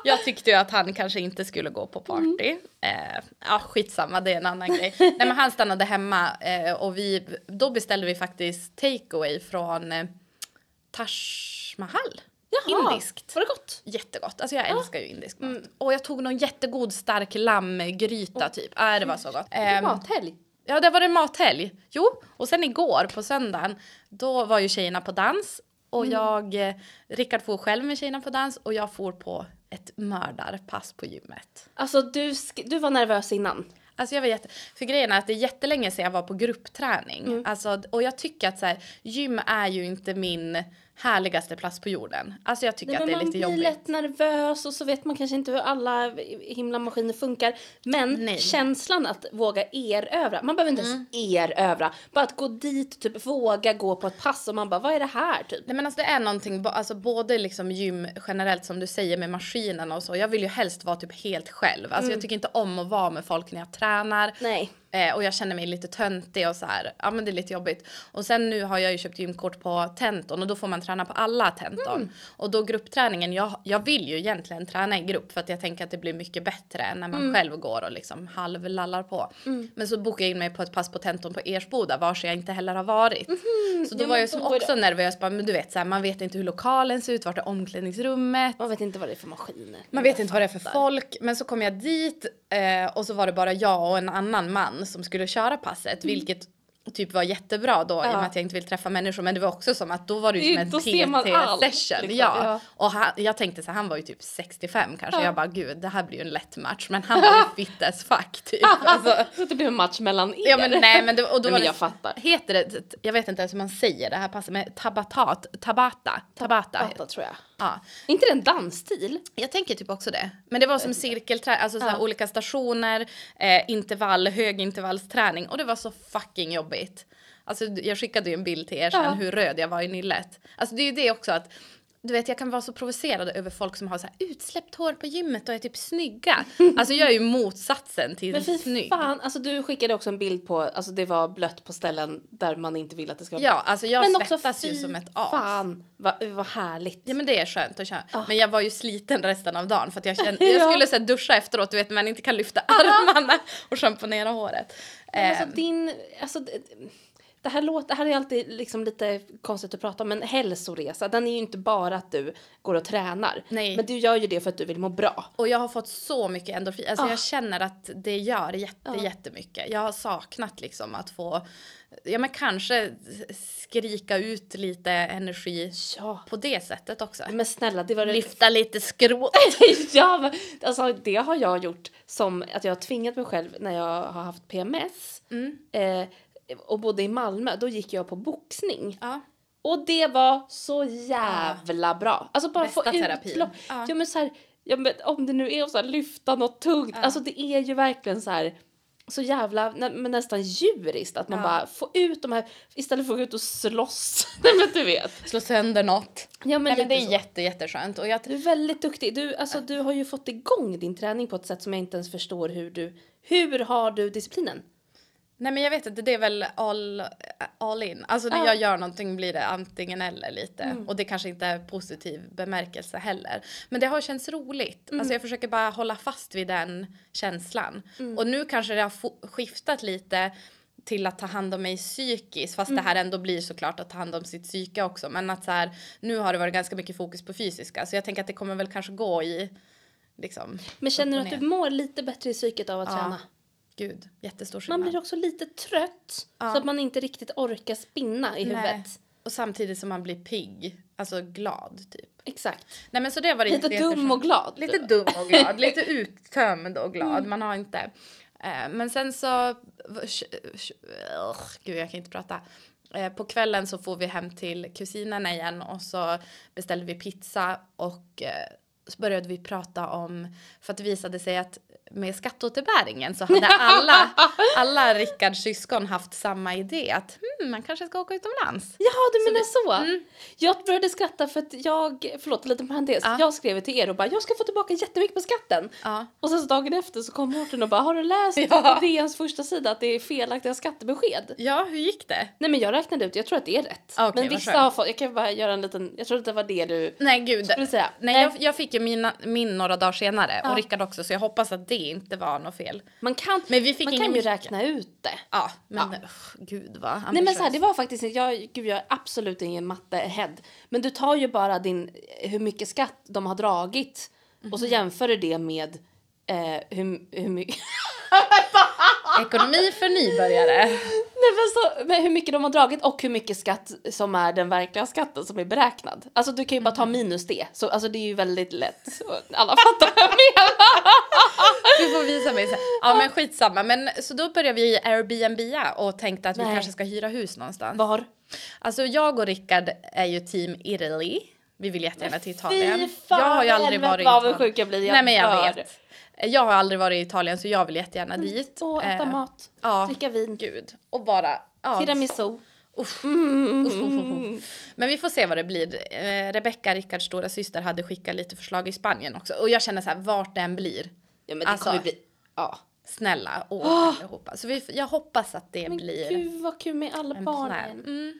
[SPEAKER 1] Jag tyckte ju att han kanske inte skulle gå på party. Eh, ja, skitsamma, det är en annan *laughs* grej. Nej, men han stannade hemma eh, och vi, då beställde vi faktiskt takeaway från eh, Taj Mahal. Indiskt.
[SPEAKER 2] Var det gott?
[SPEAKER 1] Jättegott. Alltså jag älskar ju indisk mat. Och jag tog någon jättegod stark lammgryta typ. Äh, det var så gott. Ehm,
[SPEAKER 2] Mathelg.
[SPEAKER 1] Ja, det var en mathelg. Jo, och sen igår på söndagen, då var ju tjejerna på dans och
[SPEAKER 2] Mm.
[SPEAKER 1] jag, eh, Rickard for själv med tjejerna på dans och jag for på ett mördarpass på gymmet.
[SPEAKER 2] Alltså du, sk- du var nervös innan.
[SPEAKER 1] Alltså jag var jätte... För grejen är att det är jättelänge sedan jag var på gruppträning.
[SPEAKER 2] Mm.
[SPEAKER 1] Alltså, och jag tycker att så här, gym är ju inte min härligaste plats på jorden. Alltså jag tycker
[SPEAKER 2] Nej,
[SPEAKER 1] att
[SPEAKER 2] men
[SPEAKER 1] det är
[SPEAKER 2] man
[SPEAKER 1] lite
[SPEAKER 2] blir
[SPEAKER 1] jobbigt.
[SPEAKER 2] lätt nervös och så vet man kanske inte hur alla himla maskiner funkar. Men
[SPEAKER 1] Nej. Mm.
[SPEAKER 2] känslan att våga erövra, man behöver inte ens erövra. Bara att gå dit, typ våga gå på ett pass och man bara vad är det här typ?
[SPEAKER 1] Nej men alltså det är någonting, bo- alltså både liksom gym generellt som du säger med maskinerna och så. Jag vill ju helst vara typ helt själv. Alltså jag tycker inte om att vara med folk när jag tränar.
[SPEAKER 2] Mm. Nej.
[SPEAKER 1] Eh, och jag känner mig lite töntig och så här. Ja men det är lite jobbigt. Och sen nu har jag ju köpt gymkort på tenton och då får man träna på alla tenton.
[SPEAKER 2] Mm.
[SPEAKER 1] Och då gruppträningen, jag, jag vill ju egentligen träna i grupp för att jag tänker att det blir mycket bättre än när man
[SPEAKER 2] Mm.
[SPEAKER 1] själv går och liksom halvlallar på. Men så bokade jag in mig på ett pass på tenton på Ersboda vars jag inte heller har varit. Så då
[SPEAKER 2] Mm-hmm. ja,
[SPEAKER 1] var
[SPEAKER 2] men
[SPEAKER 1] jag som
[SPEAKER 2] då är det-
[SPEAKER 1] också nervös, bara, men du vet så här, man vet inte hur lokalen ser ut, vart är omklädningsrummet?
[SPEAKER 2] Man vet inte vad det är för maskiner.
[SPEAKER 1] Man vet inte vad det är för folk. Men så kom jag dit eh, och så var det bara jag och en annan man som skulle köra passet. Vilket typ var jättebra då i och
[SPEAKER 2] Mm. Ja.
[SPEAKER 1] med att jag inte vill träffa människor. Men det var också som att då var det ju
[SPEAKER 2] Det-
[SPEAKER 1] som
[SPEAKER 2] då
[SPEAKER 1] en
[SPEAKER 2] ser man allt,
[SPEAKER 1] PT-session.
[SPEAKER 2] liksom.
[SPEAKER 1] Ja.
[SPEAKER 2] Ja.
[SPEAKER 1] Och han, jag tänkte så här, han var ju typ 65 kanske.
[SPEAKER 2] Ja.
[SPEAKER 1] Jag bara gud det här blir ju en lätt match. Men han var
[SPEAKER 2] *laughs*
[SPEAKER 1] ju fit as fuck typ. *laughs* Alltså,
[SPEAKER 2] Ah, Så att det blir en match mellan er.
[SPEAKER 1] Ja men nej men, det, och då var
[SPEAKER 2] Nej, men
[SPEAKER 1] det-
[SPEAKER 2] jag fattar.
[SPEAKER 1] Heter det, jag vet inte ens hur man säger det här passet, men tabatat, tabata, tabata, tabata
[SPEAKER 2] Fattar, tror jag.
[SPEAKER 1] Ja.
[SPEAKER 2] inte det en dansstil?
[SPEAKER 1] Jag tänker typ också det. Men det var som cirkelträning, alltså såhär
[SPEAKER 2] Ja.
[SPEAKER 1] olika stationer, eh, intervall, högintervallsträning och det var så fucking jobbigt. Alltså d- jag skickade ju en bild till er sen
[SPEAKER 2] Ja.
[SPEAKER 1] hur röd jag var i nyllet. Alltså det är ju det också att du vet jag kan vara så provocerad över folk som har så här utsläppt hår på gymmet och är typ snygga. Alltså jag är ju motsatsen till
[SPEAKER 2] *laughs* Men fy
[SPEAKER 1] snygg.
[SPEAKER 2] fan, alltså du skickade också en bild på, alltså det var blött på ställen där man inte vill att det ska vara
[SPEAKER 1] Ja, alltså jag
[SPEAKER 2] Men också
[SPEAKER 1] svettas ju
[SPEAKER 2] fy
[SPEAKER 1] som ett as.
[SPEAKER 2] Fan, vad, vad härligt.
[SPEAKER 1] Ja men det är skönt att köra. Men jag var ju sliten resten av dagen för att jag *laughs* kände,
[SPEAKER 2] Ja.
[SPEAKER 1] jag skulle så här, duscha efteråt du vet man inte kan lyfta armarna och schamponera håret.
[SPEAKER 2] Men
[SPEAKER 1] Ehm.
[SPEAKER 2] alltså din, alltså det, det här låter, det här är alltid liksom lite konstigt att prata om men hälsoresa den är ju inte bara att du går och tränar.
[SPEAKER 1] Nej.
[SPEAKER 2] Men du gör ju det för att du vill må bra.
[SPEAKER 1] Och jag har fått så mycket endorfin. Alltså
[SPEAKER 2] Ah.
[SPEAKER 1] jag känner att det gör jätte,
[SPEAKER 2] Ja.
[SPEAKER 1] jättemycket. Jag har saknat liksom att få, ja men kanske skrika ut lite energi
[SPEAKER 2] Ja.
[SPEAKER 1] på det sättet också.
[SPEAKER 2] Men snälla det
[SPEAKER 1] *laughs*
[SPEAKER 2] var det
[SPEAKER 1] Lyfta lite skrot.
[SPEAKER 2] ja, men, alltså, det har jag gjort som att jag har tvingat mig själv när jag har haft PMS eh, och bodde i Malmö. Då gick jag på boxning.
[SPEAKER 1] Ja.
[SPEAKER 2] Och det var så jävla bra. Alltså bara
[SPEAKER 1] Bästa
[SPEAKER 2] få
[SPEAKER 1] terapin.
[SPEAKER 2] utlopp.
[SPEAKER 1] Ja.
[SPEAKER 2] Ja. men så här, ja, men om det nu är att så här lyfta något tungt. Alltså det är ju verkligen så här så jävla nä, men nästan djuriskt att man
[SPEAKER 1] Ja.
[SPEAKER 2] bara får ut de här istället för att gå ut och slåss. *laughs* Nej men du vet.
[SPEAKER 1] Slå sönder något.
[SPEAKER 2] Ja men,
[SPEAKER 1] Nej, men det
[SPEAKER 2] lite
[SPEAKER 1] är
[SPEAKER 2] så.
[SPEAKER 1] jätte, jätteskönt. Och jag,
[SPEAKER 2] Du är väldigt duktig. Du, alltså, du har ju fått igång din träning på ett sätt som jag inte ens förstår hur du... Hur har du disciplinen?
[SPEAKER 1] nej men jag vet inte, det är väl all, all in. Alltså när
[SPEAKER 2] Ja. Mm.
[SPEAKER 1] jag gör någonting blir det antingen eller lite. Och det kanske inte är positiv bemärkelse heller. Men det har känts roligt.
[SPEAKER 2] Mm.
[SPEAKER 1] Alltså jag försöker bara hålla fast vid den känslan.
[SPEAKER 2] Mm.
[SPEAKER 1] Och nu kanske det har fo- skiftat lite till att ta hand om mig psykiskt fast
[SPEAKER 2] Mm.
[SPEAKER 1] det här ändå blir såklart att ta hand om sitt psyke också men att så här, nu har det varit ganska mycket fokus på fysiska så jag tänker att det kommer väl kanske gå i liksom
[SPEAKER 2] Men känner du
[SPEAKER 1] upp och
[SPEAKER 2] att du mår lite bättre i psyket av att träna?
[SPEAKER 1] gud jättestor skillnad.
[SPEAKER 2] Man blir också lite trött
[SPEAKER 1] Ja.
[SPEAKER 2] så att man inte riktigt orkar spinna i huvudet.
[SPEAKER 1] Nej. Och samtidigt som man blir pigg, alltså glad typ.
[SPEAKER 2] Exakt.
[SPEAKER 1] Nej men så det var det
[SPEAKER 2] Lite
[SPEAKER 1] jätte-
[SPEAKER 2] dum och glad.
[SPEAKER 1] Lite dum och glad, lite uttömd och glad.
[SPEAKER 2] Mm.
[SPEAKER 1] Man har inte... Eh, men sen så... Gud jag kan inte prata. Eh, På kvällen så får vi hem till kusinerna igen och så beställde vi pizza och eh, så började vi prata om, för att det visade sig att med skatteåterbäringen så hade alla, alla Rickards syskon haft samma idé att hmm, man kanske ska åka utomlands.
[SPEAKER 2] Ja, du menar så?
[SPEAKER 1] Mm.
[SPEAKER 2] Jag började skratta för att jag, förlåt en liten parentes,
[SPEAKER 1] Ja.
[SPEAKER 2] jag skrev till er och bara jag ska få tillbaka jättemycket på skatten.
[SPEAKER 1] Ja.
[SPEAKER 2] Och sen så dagen efter så kom Mårten och bara har du läst
[SPEAKER 1] *laughs* Ja.
[SPEAKER 2] på DNs första sida att det är felaktiga skattebesked?
[SPEAKER 1] Ja, hur gick det?
[SPEAKER 2] Nej men jag räknade ut, jag tror att det är rätt.
[SPEAKER 1] Ah, okej,
[SPEAKER 2] men
[SPEAKER 1] vad
[SPEAKER 2] vissa
[SPEAKER 1] skönt.
[SPEAKER 2] har fått, jag kan bara göra en liten, jag tror att det var det du
[SPEAKER 1] Nej gud.
[SPEAKER 2] skulle säga.
[SPEAKER 1] Nej, jag, jag fick ju mina, min några dagar senare
[SPEAKER 2] Ja.
[SPEAKER 1] och Rickard också så jag hoppas att det inte var något fel.
[SPEAKER 2] man kan,
[SPEAKER 1] Men vi fick
[SPEAKER 2] man
[SPEAKER 1] ingen
[SPEAKER 2] kan ju
[SPEAKER 1] mycket.
[SPEAKER 2] räkna ut det.
[SPEAKER 1] Ja, men usch, gud vad
[SPEAKER 2] Nej men
[SPEAKER 1] ambitiöst.
[SPEAKER 2] så här, det var faktiskt inte- jag, gud jag är absolut ingen matte-head. Men du tar ju bara din, eh, hur mycket skatt de har dragit och så
[SPEAKER 1] Mhm.
[SPEAKER 2] jämför du det med eh, hur, hur mycket
[SPEAKER 1] Ekonomi för nybörjare.
[SPEAKER 2] *laughs* Nej men så, men hur mycket de har dragit och hur mycket skatt som är den verkliga skatten som är beräknad. Alltså du kan ju bara
[SPEAKER 1] Mhm.
[SPEAKER 2] ta minus det. Så, alltså det är ju väldigt lätt. Så Alla fattar
[SPEAKER 1] *laughs*
[SPEAKER 2] vad jag menar.
[SPEAKER 1] *laughs* Du får visa mig sen. Ja men skitsamma. Men så då började vi Airbnb och tänkte att vi
[SPEAKER 2] Nej.
[SPEAKER 1] kanske ska hyra hus någonstans.
[SPEAKER 2] Var?
[SPEAKER 1] Alltså jag och Rickard är ju team Italy. Vi vill jättegärna till Italien.
[SPEAKER 2] fan,
[SPEAKER 1] jag har ju aldrig
[SPEAKER 2] helvete
[SPEAKER 1] varit i
[SPEAKER 2] vad
[SPEAKER 1] Italien.
[SPEAKER 2] avundsjuk jag blir, jag
[SPEAKER 1] Nej men jag
[SPEAKER 2] dör.
[SPEAKER 1] vet. Jag har aldrig varit i Italien så jag vill jättegärna dit.
[SPEAKER 2] Och äta
[SPEAKER 1] Eh,
[SPEAKER 2] mat,
[SPEAKER 1] ja.
[SPEAKER 2] dricka vin,
[SPEAKER 1] Gud. Och bara... Ja,
[SPEAKER 2] tiramisu.
[SPEAKER 1] Usch. Usch, usch, usch,
[SPEAKER 2] Mm.
[SPEAKER 1] usch. Men vi får se vad det blir. Eh, Rebecca, Rickards stora syster hade skickat lite förslag i Spanien också. Och jag känner så här, vart den blir.
[SPEAKER 2] Ja men det
[SPEAKER 1] Alltså,
[SPEAKER 2] kommer ju bli... Ja.
[SPEAKER 1] Snälla, åh allihopa. Så vi, f- jag hoppas att det
[SPEAKER 2] Ah! Men
[SPEAKER 1] blir
[SPEAKER 2] gud vad kul med alla
[SPEAKER 1] en
[SPEAKER 2] barnen.
[SPEAKER 1] plan. Mm.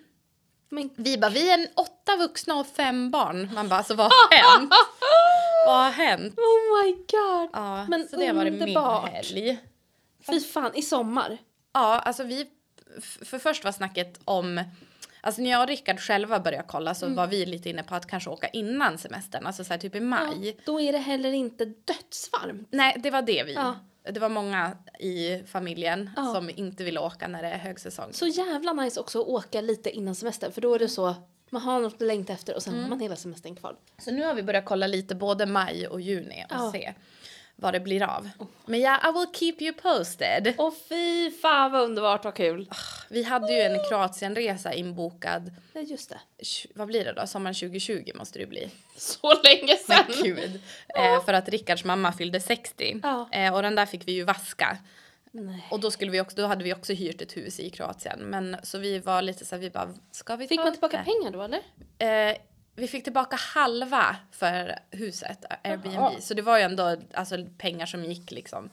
[SPEAKER 2] Men
[SPEAKER 1] Vi bara, vi är en åtta vuxna och fem barn. Man bara, alltså vad har
[SPEAKER 2] *laughs*
[SPEAKER 1] hänt? vad har hänt?
[SPEAKER 2] oh my god.
[SPEAKER 1] Ja,
[SPEAKER 2] men
[SPEAKER 1] så det var det min helg.
[SPEAKER 2] Fy fan, i sommar.
[SPEAKER 1] Ja, alltså vi... f- För först var snacket om... Alltså när jag och Rickard själva började kolla
[SPEAKER 2] Mm.
[SPEAKER 1] så var vi lite inne på att kanske åka innan semestern, alltså så här typ i maj.
[SPEAKER 2] Ja, då är det heller inte dödsvarmt.
[SPEAKER 1] Nej, det var det vi.
[SPEAKER 2] Ja.
[SPEAKER 1] Det var många i familjen
[SPEAKER 2] Ja.
[SPEAKER 1] som inte ville åka när det är högsäsong.
[SPEAKER 2] Så jävla nice också att åka lite innan semestern för då är det så man har något att längta
[SPEAKER 1] Mm.
[SPEAKER 2] efter och sen har man hela semestern kvar.
[SPEAKER 1] Så nu har vi börjat kolla lite både maj och juni och
[SPEAKER 2] Ja. Oh.
[SPEAKER 1] se vad det blir av. Men ja, I will keep you posted.
[SPEAKER 2] Och fy fan vad underbart, vad kul.
[SPEAKER 1] Vi hade ju en Kroatienresa inbokad,
[SPEAKER 2] Nej, just det.
[SPEAKER 1] tj- vad blir det då, sommaren 2020 måste det bli.
[SPEAKER 2] Så länge
[SPEAKER 1] Men
[SPEAKER 2] sedan. *laughs*
[SPEAKER 1] gud. Eh, för att Rickards mamma fyllde 60.
[SPEAKER 2] Ja.
[SPEAKER 1] Eh, och den där fick vi ju vaska.
[SPEAKER 2] Nej.
[SPEAKER 1] Och då, skulle vi också, då hade vi också hyrt ett hus i Kroatien. Men, så vi var lite så här, vi bara, ska vi
[SPEAKER 2] Fick
[SPEAKER 1] ta
[SPEAKER 2] man tillbaka
[SPEAKER 1] det?
[SPEAKER 2] pengar då eller?
[SPEAKER 1] Eh, vi fick tillbaka halva för huset, eh, Airbnb.
[SPEAKER 2] Jaha.
[SPEAKER 1] Så det var ju ändå alltså, pengar som gick liksom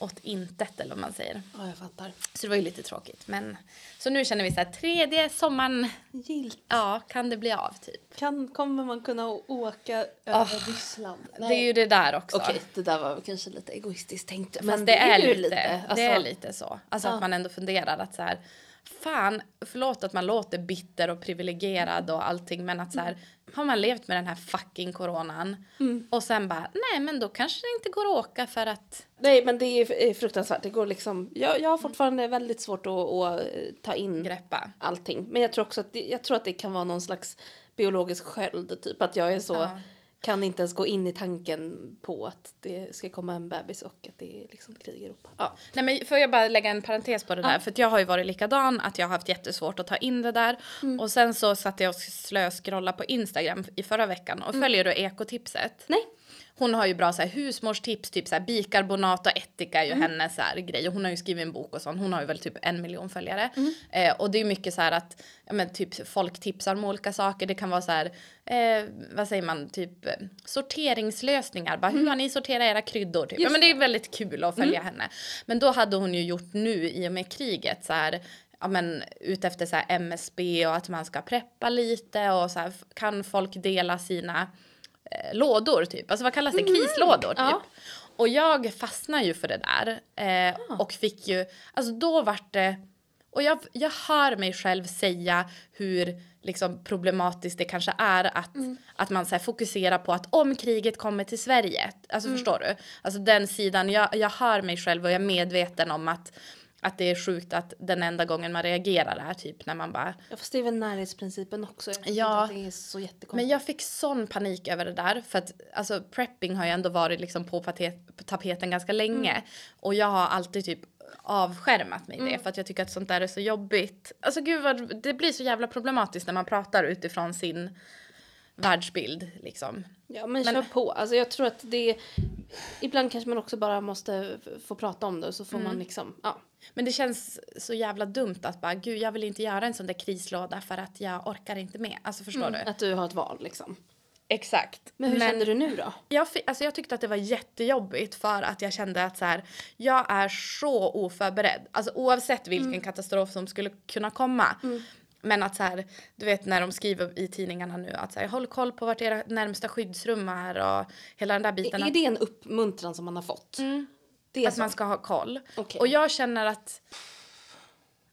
[SPEAKER 1] åt intet eller vad man säger.
[SPEAKER 2] Ja, jag fattar.
[SPEAKER 1] Så det var ju lite tråkigt. Men, så nu känner vi så här, tredje sommaren,
[SPEAKER 2] Gilt.
[SPEAKER 1] ja kan det bli av typ.
[SPEAKER 2] Kan, kommer man kunna å- åka över Ryssland?
[SPEAKER 1] Ah. Det är ju det där också.
[SPEAKER 2] Okej, det där var kanske lite egoistiskt tänkt.
[SPEAKER 1] Fast det, är, lite, det är lite så. Alltså
[SPEAKER 2] Ja.
[SPEAKER 1] att man ändå funderar att så här, fan, förlåt att man låter bitter och privilegierad och allting men att så här, har man levt med den här fucking coronan och sen bara, nej men då kanske det inte går att åka för att
[SPEAKER 2] Nej, men det är ju eh, fruktansvärt. Det går liksom, jag, jag har fortfarande väldigt svårt att, att eh, ta in
[SPEAKER 1] greppa.
[SPEAKER 2] allting. Men jag tror också att det, jag tror att det kan vara någon slags biologisk sköld. Typ att jag är så,
[SPEAKER 1] Ja.
[SPEAKER 2] kan inte ens gå in i tanken på att det ska komma en bebis och att det är liksom krig i Europa.
[SPEAKER 1] Ja. Nej, men får jag bara lägga en parentes på det där? För att jag har ju varit likadan, att jag har haft jättesvårt att ta in det där. Och sen så satt jag och slöskrollade på Instagram i förra veckan och följer du ekotipset?
[SPEAKER 2] Nej.
[SPEAKER 1] Hon har ju bra så här, husmorstips, typ så här, bikarbonat och ättika är ju hennes så här, grej. Och hon har ju skrivit en bok och sånt. Hon har ju väl typ en miljon följare. Eh, och det är ju mycket så här att ja, men, typ, folk tipsar om olika saker. Det kan vara så här, eh, vad säger man, typ eh, sorteringslösningar. Bara, Hur har ni sorterat era kryddor? Typ. Ja, men det är väldigt kul att följa henne. Men då hade hon ju gjort nu i och med kriget så här ja, men, ute efter så här MSB och att man ska preppa lite och så här, f- kan folk dela sina eh, lådor typ. Alltså vad kallas det? Krislådor typ.
[SPEAKER 2] ja.
[SPEAKER 1] Och jag fastnade ju för det där. Eh, Och fick ju, alltså då vart det, och jag, jag hör mig själv säga hur liksom problematiskt det kanske är att, att man så här, fokuserar på att om kriget kommer till Sverige, alltså förstår du? Alltså den sidan, jag, jag hör mig själv och jag är medveten om att att det är sjukt att den enda gången man reagerar är typ när man bara
[SPEAKER 2] Ja, fast det är väl närhetsprincipen också. Jag tycker
[SPEAKER 1] Ja.
[SPEAKER 2] inte att det är så jättekonstigt.
[SPEAKER 1] men jag fick sån panik över det där. För att alltså, prepping har ju ändå varit liksom på pate- på tapeten ganska länge.
[SPEAKER 2] Mm.
[SPEAKER 1] Och jag har alltid typ avskärmat mig det. För att jag tycker att sånt där är så jobbigt. Alltså gud vad, det blir så jävla problematiskt när man pratar utifrån sin världsbild liksom.
[SPEAKER 2] Ja men,
[SPEAKER 1] Men-
[SPEAKER 2] kör på. Alltså jag tror att det är... Ibland kanske man också bara måste f- få prata om det och så får
[SPEAKER 1] Mm.
[SPEAKER 2] man liksom, ja.
[SPEAKER 1] Men det känns så jävla dumt att bara gud jag vill inte göra en sån där krislåda för att jag orkar inte med. Alltså förstår du?
[SPEAKER 2] Att du har ett val liksom.
[SPEAKER 1] Exakt.
[SPEAKER 2] Mm. Men hur känner du nu då?
[SPEAKER 1] Jag, fi- alltså jag tyckte att det var jättejobbigt för att jag kände att så här, jag är så oförberedd. Alltså oavsett vilken
[SPEAKER 2] Mm.
[SPEAKER 1] katastrof som skulle kunna komma. Men att så här, du vet när de skriver i tidningarna nu att så här, håll koll på vart era närmsta skyddsrum är och hela den där biten.
[SPEAKER 2] Är det en uppmuntran som man har fått? Det är
[SPEAKER 1] att, att
[SPEAKER 2] så.
[SPEAKER 1] man ska ha koll.
[SPEAKER 2] Okej.
[SPEAKER 1] Och jag känner att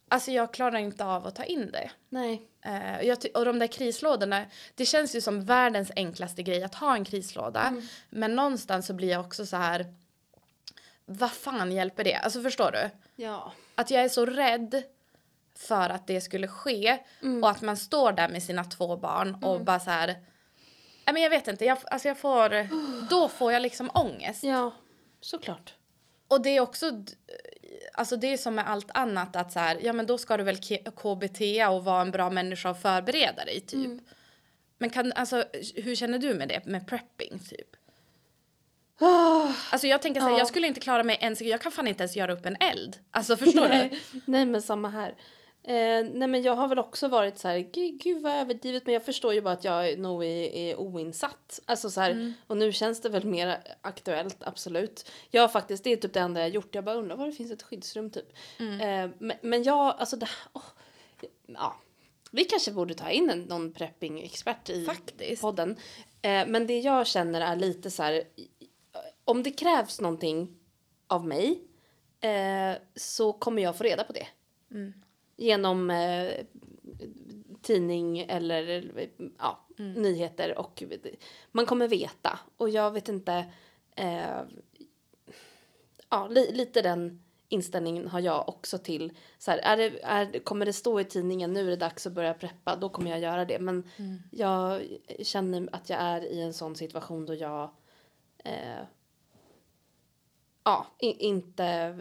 [SPEAKER 1] alltså jag klarar inte av att ta in det.
[SPEAKER 2] Nej.
[SPEAKER 1] Eh, jag ty- och de där krislådorna, det känns ju som världens enklaste grej att ha en krislåda. Men någonstans så blir jag också så här, vad fan hjälper det? Alltså förstår du?
[SPEAKER 2] Ja.
[SPEAKER 1] Att jag är så rädd för att det skulle ske och att man står där med sina två barn och bara så här, nej men jag vet inte, jag, alltså jag får, då får jag liksom ångest.
[SPEAKER 2] Ja. Såklart.
[SPEAKER 1] Och det är också, d- alltså det är som med allt annat att så här, ja men då ska du väl K- KBT och vara en bra människa och förbereda dig typ.
[SPEAKER 2] Mm.
[SPEAKER 1] Men kan, alltså hur känner du med det, med prepping typ? Alltså jag tänker så här,
[SPEAKER 2] Ja.
[SPEAKER 1] jag skulle inte klara mig ens, jag kan fan inte ens göra upp en eld. Alltså förstår du?
[SPEAKER 2] Nej, nej men samma här. Eh, nej men jag har väl också varit så här, gud, gud vad överdrivet men jag förstår ju bara att jag nog är, är oinsatt. Alltså så här, och nu känns det väl mer aktuellt absolut. Jag har faktiskt, det är typ det enda jag har gjort, jag bara undrar var det finns ett skyddsrum typ. Eh, men, men jag, alltså det åh, ja. Vi kanske borde ta in en, någon prepping-expert i
[SPEAKER 1] Faktiskt.
[SPEAKER 2] podden. Eh, men det jag känner är lite så här, om det krävs någonting av mig eh, så kommer jag få reda på det. Genom eh, tidning eller eh, ja, nyheter och eh, man kommer veta. Och jag vet inte, eh, ja li, lite den inställningen har jag också till så här, är det, är, kommer det stå i tidningen nu är det dags att börja preppa då kommer jag göra det. Men
[SPEAKER 1] Mm.
[SPEAKER 2] jag känner att jag är i en sån situation då jag eh, ja, i- inte,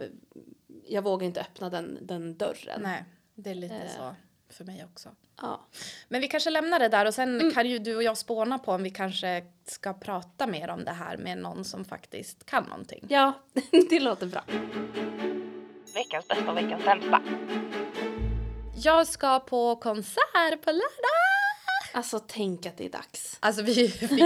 [SPEAKER 2] jag vågar inte öppna den, den dörren.
[SPEAKER 1] Nej, det är lite
[SPEAKER 2] Eh.
[SPEAKER 1] så för mig också.
[SPEAKER 2] Ja.
[SPEAKER 1] Men vi kanske lämnar det där och sen
[SPEAKER 2] Mm.
[SPEAKER 1] kan ju du och jag spåna på om vi kanske ska prata mer om det här med någon som faktiskt kan någonting.
[SPEAKER 2] ja, *laughs* det låter bra.
[SPEAKER 3] Veckans bästa och veckans sämsta.
[SPEAKER 1] Jag ska på konsert på lördag!
[SPEAKER 2] Alltså tänk att det är dags.
[SPEAKER 1] Alltså *laughs* vi fick,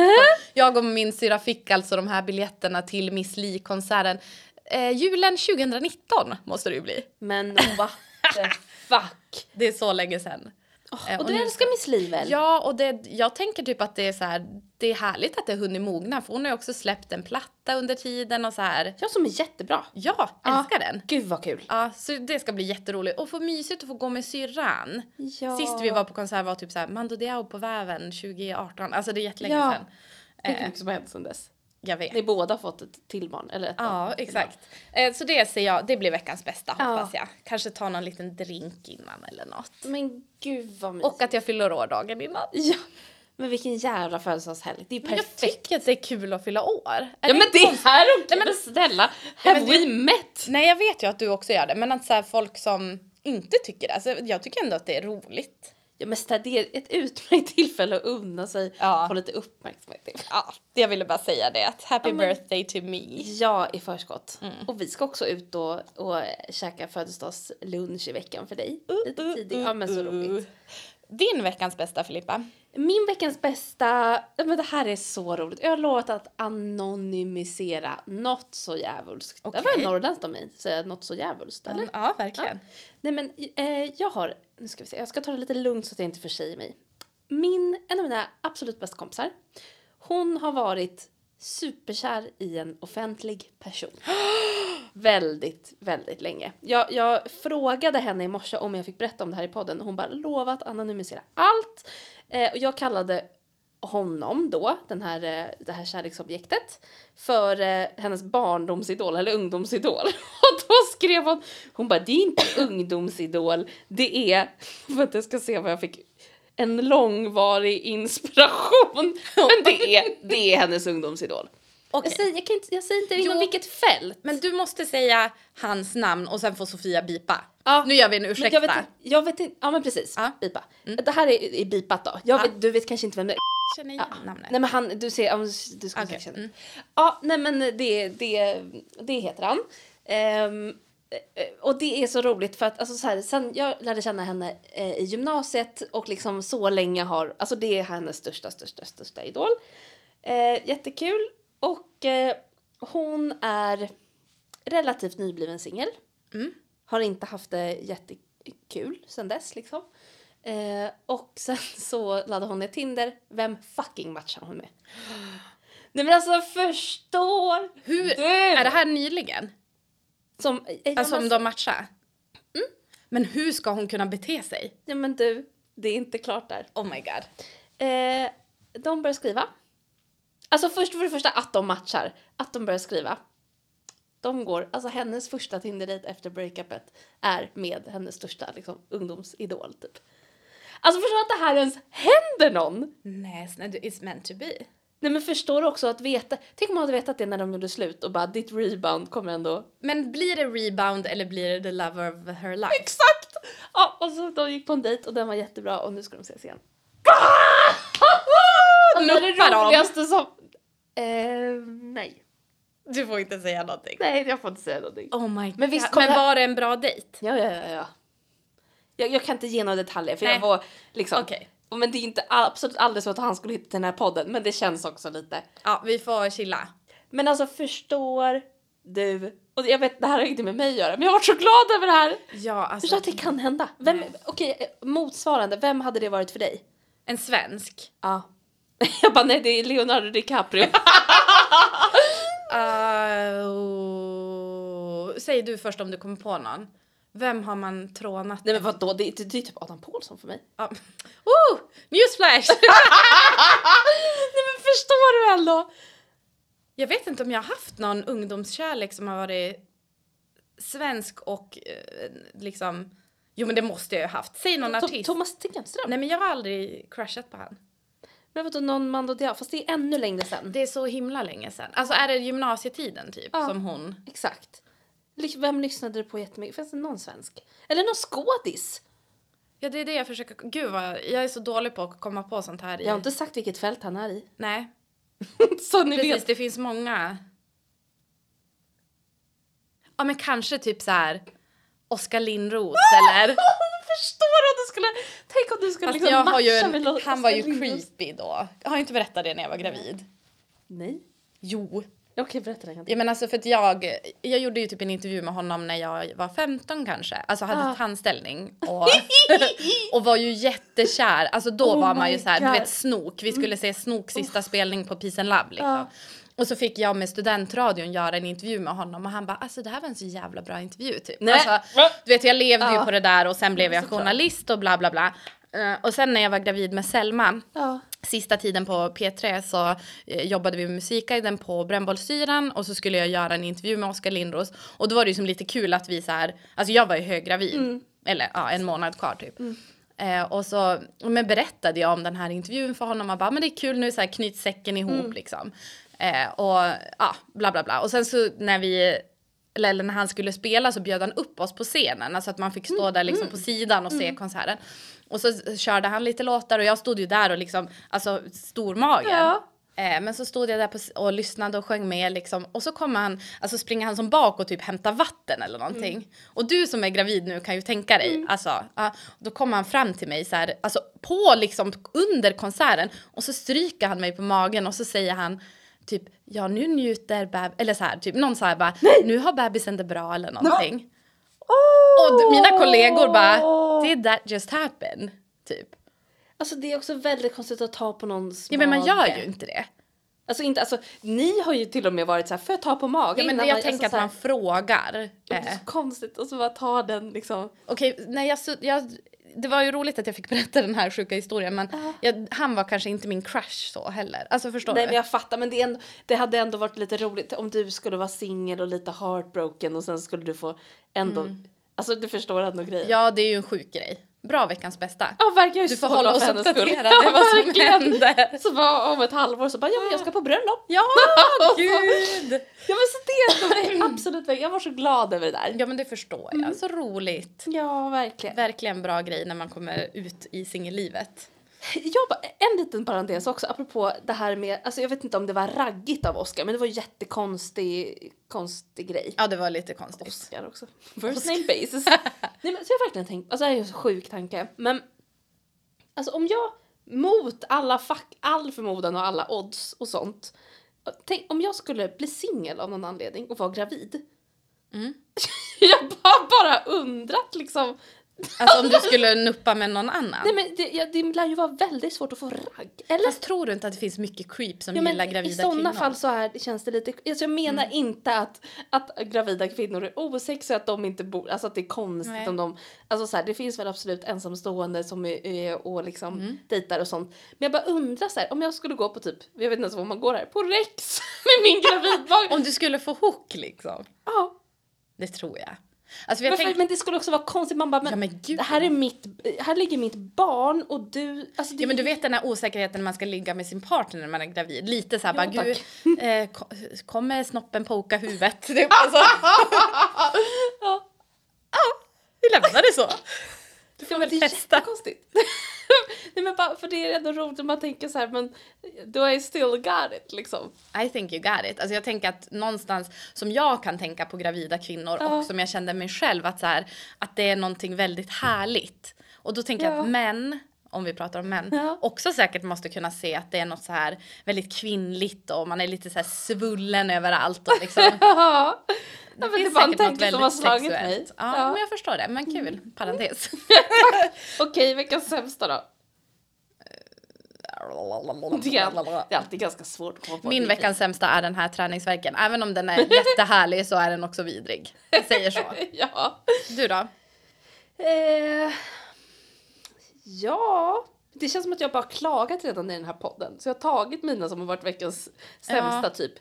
[SPEAKER 1] jag och min syra fick alltså de här biljetterna till Miss Li-konserten. Eh, julen 2019 måste det ju bli.
[SPEAKER 2] Men what
[SPEAKER 1] *laughs*
[SPEAKER 2] the fuck.
[SPEAKER 1] Det är så länge sedan.
[SPEAKER 2] Åh,
[SPEAKER 1] Eh,
[SPEAKER 2] och
[SPEAKER 1] och
[SPEAKER 2] du
[SPEAKER 1] nu-
[SPEAKER 2] älskar Miss Li väl?
[SPEAKER 1] Ja, och det, jag tänker typ att det är så här, det är härligt att det har hunnit mogna för hon har ju också släppt en platta under tiden och så här.
[SPEAKER 2] Jag som är jättebra.
[SPEAKER 1] Ja,
[SPEAKER 2] Ja.
[SPEAKER 1] älskar den.
[SPEAKER 2] Gud vad kul.
[SPEAKER 1] Ja, så det ska bli jätteroligt. Och få mysigt att få gå med syrran.
[SPEAKER 2] Ja.
[SPEAKER 1] Sist vi var på konsert var typ så här Mando Diao på väven 2018. Alltså det är jättelänge
[SPEAKER 2] Ja.
[SPEAKER 1] sedan.
[SPEAKER 2] Det är mycket som har hänt sedan dess.
[SPEAKER 1] Jag vet.
[SPEAKER 2] Ni båda har fått ett till barn. Eller ett
[SPEAKER 1] Ja,
[SPEAKER 2] barn.
[SPEAKER 1] exakt. Eh, Så det ser jag, det blir veckans bästa
[SPEAKER 2] Ja.
[SPEAKER 1] hoppas jag. Kanske ta någon liten drink innan eller något.
[SPEAKER 2] Men gud vad mysigt.
[SPEAKER 1] Och att jag fyller år dagen innan.
[SPEAKER 2] Ja. Men vilken jävla födelsedagshelg. Det är
[SPEAKER 1] Men jag
[SPEAKER 2] perfekt.
[SPEAKER 1] tycker att det är kul att fylla år. Är
[SPEAKER 2] Ja men det
[SPEAKER 1] konstigt?
[SPEAKER 2] här och
[SPEAKER 1] Nej, men-
[SPEAKER 2] snälla.
[SPEAKER 1] Ja,
[SPEAKER 2] Have
[SPEAKER 1] men
[SPEAKER 2] we met?
[SPEAKER 1] Nej jag vet ju att du också gör det men att så här, folk som inte tycker det. Alltså, jag tycker ändå att det är roligt.
[SPEAKER 2] Ja men snälla, det är ett utmärkt tillfälle att unna sig.
[SPEAKER 1] Ja.
[SPEAKER 2] Få lite uppmärksamhet.
[SPEAKER 1] Ja, jag ville bara säga det. Att happy
[SPEAKER 2] Ja, men-
[SPEAKER 1] birthday to me.
[SPEAKER 2] Ja i förskott. Och vi ska också ut och, och käka födelsedagslunch i veckan för dig. lite tidigt. ja men så roligt.
[SPEAKER 1] Din veckans bästa Filippa.
[SPEAKER 2] Min veckans bästa, ja, men det här är så roligt. Jag har lovat att anonymisera något så djävulskt.
[SPEAKER 1] Okej.
[SPEAKER 2] Det var norrländskt av mig att säga något så djävulskt eller?
[SPEAKER 1] Ja, verkligen.
[SPEAKER 2] Nej men eh, jag har, nu ska vi se, jag ska ta det lite lugnt så att jag inte försäger mig. Min, en av mina absolut bästa kompisar, hon har varit superkär i en offentlig person. väldigt, väldigt länge. Jag, jag frågade henne i morse om jag fick berätta om det här i podden och hon bara lovat anonymisera allt. Eh, och jag kallade honom då, den här, eh, det här kärleksobjektet, för eh, hennes barndomsidol eller ungdomsidol. *laughs* Och då skrev hon, hon bara det är inte ungdomsidol, det är, *laughs* för att jag ska se vad jag fick, en långvarig inspiration. *laughs* Men det är, det är hennes ungdomsidol.
[SPEAKER 1] Okej.
[SPEAKER 2] Jag, säger, jag, kan inte, jag säger inte inom
[SPEAKER 1] Jo.
[SPEAKER 2] vilket fält.
[SPEAKER 1] Men du måste säga hans namn och sen får Sofia bipa.
[SPEAKER 2] Ja.
[SPEAKER 1] Nu gör vi en
[SPEAKER 2] Men
[SPEAKER 1] ursäkta.
[SPEAKER 2] jag vet, inte- jag vet inte, ja men precis,
[SPEAKER 1] Ja. Mm.
[SPEAKER 2] bipa. Det här är, är bipat då. Jag
[SPEAKER 1] Ja.
[SPEAKER 2] vet, du vet kanske inte vem det är.
[SPEAKER 1] känner
[SPEAKER 2] Ja.
[SPEAKER 1] igen namnet.
[SPEAKER 2] Nej men han, du ser, ja, men du ska
[SPEAKER 1] Okej,
[SPEAKER 2] säkert känna.
[SPEAKER 1] mm.
[SPEAKER 2] Ja, nej men det, det, det heter han. Ehm, eh, och det är så roligt för att alltså så här, sen jag lärde känna henne eh, i gymnasiet och liksom så länge har, alltså det är hennes största, största, största idol. Eh, jättekul och eh, hon är relativt nybliven singel.
[SPEAKER 1] Mm.
[SPEAKER 2] Har inte haft det jättekul sen dess liksom. Eh, och *laughs* sen så laddade hon ner Tinder. Vem fucking matchar hon med? Nej men alltså förstår
[SPEAKER 1] Hur-
[SPEAKER 2] du?
[SPEAKER 1] Är det här nyligen?
[SPEAKER 2] Som, eh, ja,
[SPEAKER 1] Alltså
[SPEAKER 2] men,
[SPEAKER 1] om de matchar? Mm. Men hur ska hon kunna bete sig?
[SPEAKER 2] ja men du, det är inte klart där.
[SPEAKER 1] Oh my god.
[SPEAKER 2] Eh, de börjar skriva. Alltså först för det första att de matchar, att de börjar skriva. De går, alltså hennes första Tinder-date efter breakupet är med hennes största liksom, ungdomsidol typ. Alltså förstår du att det här ens händer någon?
[SPEAKER 1] Nej snälla, du- it's meant to be.
[SPEAKER 2] Nej men förstår du också att veta, tänk om man hade vetat det när de gjorde slut och bara ditt rebound kommer ändå
[SPEAKER 1] Men blir det rebound eller blir det the lover of her life?
[SPEAKER 2] Exakt! Ja, och så de gick på en dejt och den var jättebra och nu ska de ses igen. Och det är
[SPEAKER 1] Nuppar
[SPEAKER 2] det
[SPEAKER 1] de?
[SPEAKER 2] roligaste som... Eh, nej.
[SPEAKER 1] Du får inte säga någonting.
[SPEAKER 2] Nej, jag får inte säga någonting.
[SPEAKER 1] Oh my god.
[SPEAKER 2] Men
[SPEAKER 1] Men,
[SPEAKER 2] visst kom det-
[SPEAKER 1] var det en bra dejt?
[SPEAKER 2] Ja, ja, ja. ja. Jag, jag kan inte ge några detaljer för jag
[SPEAKER 1] Nej.
[SPEAKER 2] var liksom...
[SPEAKER 1] Okej.
[SPEAKER 2] Men det är inte all- absolut aldrig så att han skulle hitta den här podden, men det känns också lite.
[SPEAKER 1] Ja, vi får chilla.
[SPEAKER 2] Men alltså förstår du? Och jag vet, det här har inte med mig att göra, men jag har varit så glad över det här.
[SPEAKER 1] Ja,
[SPEAKER 2] Förstår
[SPEAKER 1] alltså.
[SPEAKER 2] att det kan hända. Vem, okej, eh, motsvarande, vem hade det varit för dig?
[SPEAKER 1] En svensk.
[SPEAKER 2] Ja. *laughs* Jag bara nej det är Leonardo DiCaprio.
[SPEAKER 1] Uh, oh. Säg du först om du kommer på någon. Vem har man trånat?
[SPEAKER 2] *laughs* nej men vadå det, är- det är typ Adam Pålsson *laughs* för mig.
[SPEAKER 1] Ja. Oh, newsflash! *laughs*
[SPEAKER 2] nej men förstår du väl då?
[SPEAKER 1] Jag vet inte om jag har haft någon ungdomskärlek som har varit svensk och eh, liksom... Jo men det måste jag ju ha haft. Säg någon
[SPEAKER 2] To-
[SPEAKER 1] artist.
[SPEAKER 2] Thomas Tingström.
[SPEAKER 1] Nej men jag har aldrig crushat på han.
[SPEAKER 2] Men vadå någon Mando Diao? Fast det är ännu längre sen.
[SPEAKER 1] Det är så himla länge sedan. Alltså är det gymnasietiden typ
[SPEAKER 2] Ja.
[SPEAKER 1] som hon?
[SPEAKER 2] Exakt. Ly- Vem lyssnade du på jättemycket? Fanns det någon svensk? Eller någon skådis?
[SPEAKER 1] Ja det är det jag försöker, gud vad, jag är så dålig på att komma på sånt här i.
[SPEAKER 2] Jag har inte sagt vilket fält han
[SPEAKER 1] *laughs*
[SPEAKER 2] är i.
[SPEAKER 1] Nej,
[SPEAKER 2] Så ni
[SPEAKER 1] precis
[SPEAKER 2] vet.
[SPEAKER 1] det finns många. Ja men kanske typ så här Oskar Lindros
[SPEAKER 2] *laughs*
[SPEAKER 1] eller?
[SPEAKER 2] Förstår du om du skulle... Tänk om du skulle liksom
[SPEAKER 1] Fast jag har ju
[SPEAKER 2] matcha
[SPEAKER 1] en,
[SPEAKER 2] med Lo-
[SPEAKER 1] han var ju
[SPEAKER 2] Oskar Lindros.
[SPEAKER 1] creepy då. Jag har inte berättat det när jag var gravid.
[SPEAKER 2] Nej.
[SPEAKER 1] Jo.
[SPEAKER 2] Okej, berätta det en gång till.
[SPEAKER 1] Jag menar alltså för att jag, jag gjorde ju typ en intervju med honom när jag var 15 kanske. Alltså hade
[SPEAKER 2] Ah.
[SPEAKER 1] tandställning
[SPEAKER 2] *laughs*
[SPEAKER 1] och, och var ju jättekär. Alltså då
[SPEAKER 2] Oh
[SPEAKER 1] var man
[SPEAKER 2] my
[SPEAKER 1] ju så här, du
[SPEAKER 2] God.
[SPEAKER 1] vet snok. Vi skulle se snok sista spelning på Peace and Love liksom.
[SPEAKER 2] Ja.
[SPEAKER 1] Och så fick jag med studentradion göra en intervju med honom och han bara alltså det här var en så jävla bra intervju typ.
[SPEAKER 2] Nej. Ah.
[SPEAKER 1] Alltså, du vet jag levde ju
[SPEAKER 2] Ja.
[SPEAKER 1] på det där och sen blev jag
[SPEAKER 2] Såklart.
[SPEAKER 1] journalist och bla bla bla. Eh, och sen när jag var gravid med Selma
[SPEAKER 2] Ja.
[SPEAKER 1] Sista tiden på P3 så eh, jobbade vi med musikguiden på Brännbollsyran och så skulle jag göra en intervju med Oskar Lindros och då var det ju som lite kul att vi så här, alltså jag var ju höggravid, eller ja en månad kvar typ. Eh, och så men berättade jag om den här intervjun för honom och bara "Ah, men det är kul nu så här knyt säcken ihop liksom. Eh, och ja bla bla bla och sen så när vi eller eller när han skulle spela så bjöd han upp oss på scenen. Alltså att man fick stå där liksom på sidan och se konserten. Och så s- körde han lite låtar och jag stod ju där och liksom, alltså stormagen.
[SPEAKER 2] Ja.
[SPEAKER 1] Eh, men så stod jag där på, s- och lyssnade och sjöng med liksom. Och så kommer han, alltså springer han som bak och typ hämtar vatten eller någonting. Och du som är gravid nu kan ju tänka dig, alltså. ja, då kommer han fram till mig så här, alltså på liksom under konserten. Och så stryker han mig på magen och så säger han typ, ja nu njuter beb... Eller så här, typ någon så här bara, nu har bebisen det bra eller någonting. Och d- mina kollegor bara, did that just happen? Typ.
[SPEAKER 2] Alltså det är också väldigt konstigt att ta på någons
[SPEAKER 1] Ja men man gör
[SPEAKER 2] mage.
[SPEAKER 1] ju inte det.
[SPEAKER 2] Alltså inte, alltså ni har ju till och med varit så här, får jag ta på magen?
[SPEAKER 1] Ja, men
[SPEAKER 2] Innan
[SPEAKER 1] jag
[SPEAKER 2] man-
[SPEAKER 1] tänker
[SPEAKER 2] alltså,
[SPEAKER 1] att man frågar.
[SPEAKER 2] så här,
[SPEAKER 1] Eh.
[SPEAKER 2] Det är så konstigt och så bara ta den liksom.
[SPEAKER 1] Okej, nej jag, su- jag, det var ju roligt att jag fick berätta den här sjuka historien men jag, han var kanske inte min crush så heller. Alltså förstår
[SPEAKER 2] Nej
[SPEAKER 1] du?
[SPEAKER 2] men jag fattar men det, är ändå, det hade ändå varit lite roligt om du skulle vara singel och lite heartbroken och sen skulle du få ändå, alltså du förstår ändå grejen.
[SPEAKER 1] Ja det är ju en sjuk grej. Bra veckans bästa.
[SPEAKER 2] Ja verkar ju
[SPEAKER 1] Du får
[SPEAKER 2] så bra
[SPEAKER 1] hålla
[SPEAKER 2] för
[SPEAKER 1] oss
[SPEAKER 2] hennes skull.
[SPEAKER 1] uppdaterade vad
[SPEAKER 2] *laughs*
[SPEAKER 1] som
[SPEAKER 2] verkligen.
[SPEAKER 1] händer.
[SPEAKER 2] Så bara om ett halvår så bara ja men jag ska på bröllop. *laughs*
[SPEAKER 1] Ja gud!
[SPEAKER 2] Ja men så det är ändå det *laughs* absolut, jag var så glad över det där.
[SPEAKER 1] Ja men det förstår
[SPEAKER 2] Mm.
[SPEAKER 1] jag. Så roligt.
[SPEAKER 2] Ja verkligen.
[SPEAKER 1] Verkligen bra grej när man kommer ut i singellivet.
[SPEAKER 2] Jag bara, en liten parentes också, apropå det här med, alltså jag vet inte om det var raggigt av Oscar, men det var en jättekonstig konstig grej.
[SPEAKER 1] Ja det var lite konstigt.
[SPEAKER 2] Oscar också. First name basis. *laughs* Nej men så jag har verkligen tänkt, alltså det här är ju en så sjuk tanke, men alltså om jag mot alla fack, all förmodan och alla odds och sånt, tänk om jag skulle bli singel av någon anledning och vara gravid.
[SPEAKER 1] Mm.
[SPEAKER 2] *laughs* jag bara, bara undrat liksom,
[SPEAKER 1] Alltså om du skulle nuppa med någon annan.
[SPEAKER 2] nej men det, ja, det lär ju vara väldigt svårt att få ragg, eller?
[SPEAKER 1] Fast tror du inte att det finns mycket creep som
[SPEAKER 2] Ja,
[SPEAKER 1] gillar
[SPEAKER 2] men
[SPEAKER 1] gravida
[SPEAKER 2] I sådana
[SPEAKER 1] kvinnor? Mm.
[SPEAKER 2] fall så är, känns det lite... Alltså jag menar inte att, att gravida kvinnor är osexiga, att de inte bor... Alltså att det är konstigt
[SPEAKER 1] Nej.
[SPEAKER 2] om de... Alltså så här, det finns väl absolut ensamstående som är, är och liksom
[SPEAKER 1] Mm.
[SPEAKER 2] dejtar och sånt. Men jag bara undrar så här, om jag skulle gå på typ, jag vet inte ens var man går här, på Rex *laughs* med min
[SPEAKER 1] *laughs*
[SPEAKER 2] gravidmage.
[SPEAKER 1] Om du skulle få hook liksom.
[SPEAKER 2] ja.
[SPEAKER 1] Det tror jag. Alltså
[SPEAKER 2] Men,
[SPEAKER 1] jag
[SPEAKER 2] för-
[SPEAKER 1] tänkte...
[SPEAKER 2] men det skulle också vara konstigt, man bara men,
[SPEAKER 1] Ja men gud.
[SPEAKER 2] det här är mitt, här ligger mitt barn och du, alltså det
[SPEAKER 1] Ja men du vet den här osäkerheten när man ska ligga med sin partner när man är gravid. Lite såhär
[SPEAKER 2] Ja,
[SPEAKER 1] bara gud, eh, ko- kommer snoppen poka huvudet? *laughs* Det är alltså,
[SPEAKER 2] *laughs* ja.
[SPEAKER 1] vi lämnar det så.
[SPEAKER 2] Du
[SPEAKER 1] får väl testa.
[SPEAKER 2] Konstigt. *laughs* Nej men bara, för det är ändå roligt om man tänker så här men do I still got it liksom?
[SPEAKER 1] I think you got it. Alltså jag tänker att någonstans som jag kan tänka på gravida kvinnor
[SPEAKER 2] Ja.
[SPEAKER 1] och som jag kände mig själv att, så här, att det är någonting väldigt härligt. Och då tänker jag
[SPEAKER 2] Ja.
[SPEAKER 1] att män, om vi pratar om män,
[SPEAKER 2] Ja.
[SPEAKER 1] också säkert måste kunna se att det är något så här väldigt kvinnligt och man är lite så här svullen överallt och
[SPEAKER 2] *laughs*
[SPEAKER 1] liksom.
[SPEAKER 2] ja men det
[SPEAKER 1] finns
[SPEAKER 2] var en
[SPEAKER 1] säkert något
[SPEAKER 2] tanke som
[SPEAKER 1] väldigt
[SPEAKER 2] har slagit
[SPEAKER 1] sexuellt.
[SPEAKER 2] mig.
[SPEAKER 1] Ja,
[SPEAKER 2] Ja. Mm.
[SPEAKER 1] men jag förstår det. Men kul. Parentes.
[SPEAKER 2] Okej veckans sämsta då? Det är, det är alltid ganska svårt att komma på.
[SPEAKER 1] Min
[SPEAKER 2] det.
[SPEAKER 1] veckans sämsta är den här träningsverken. Även om den är jättehärlig så är den också vidrig. Jag säger
[SPEAKER 2] *laughs*
[SPEAKER 1] så.
[SPEAKER 2] *laughs* ja.
[SPEAKER 1] Du då?
[SPEAKER 2] Eh, ja. Det känns som att jag bara har klagat redan i den här podden. Så jag har tagit mina som har varit veckans sämsta
[SPEAKER 1] Ja.
[SPEAKER 2] typ.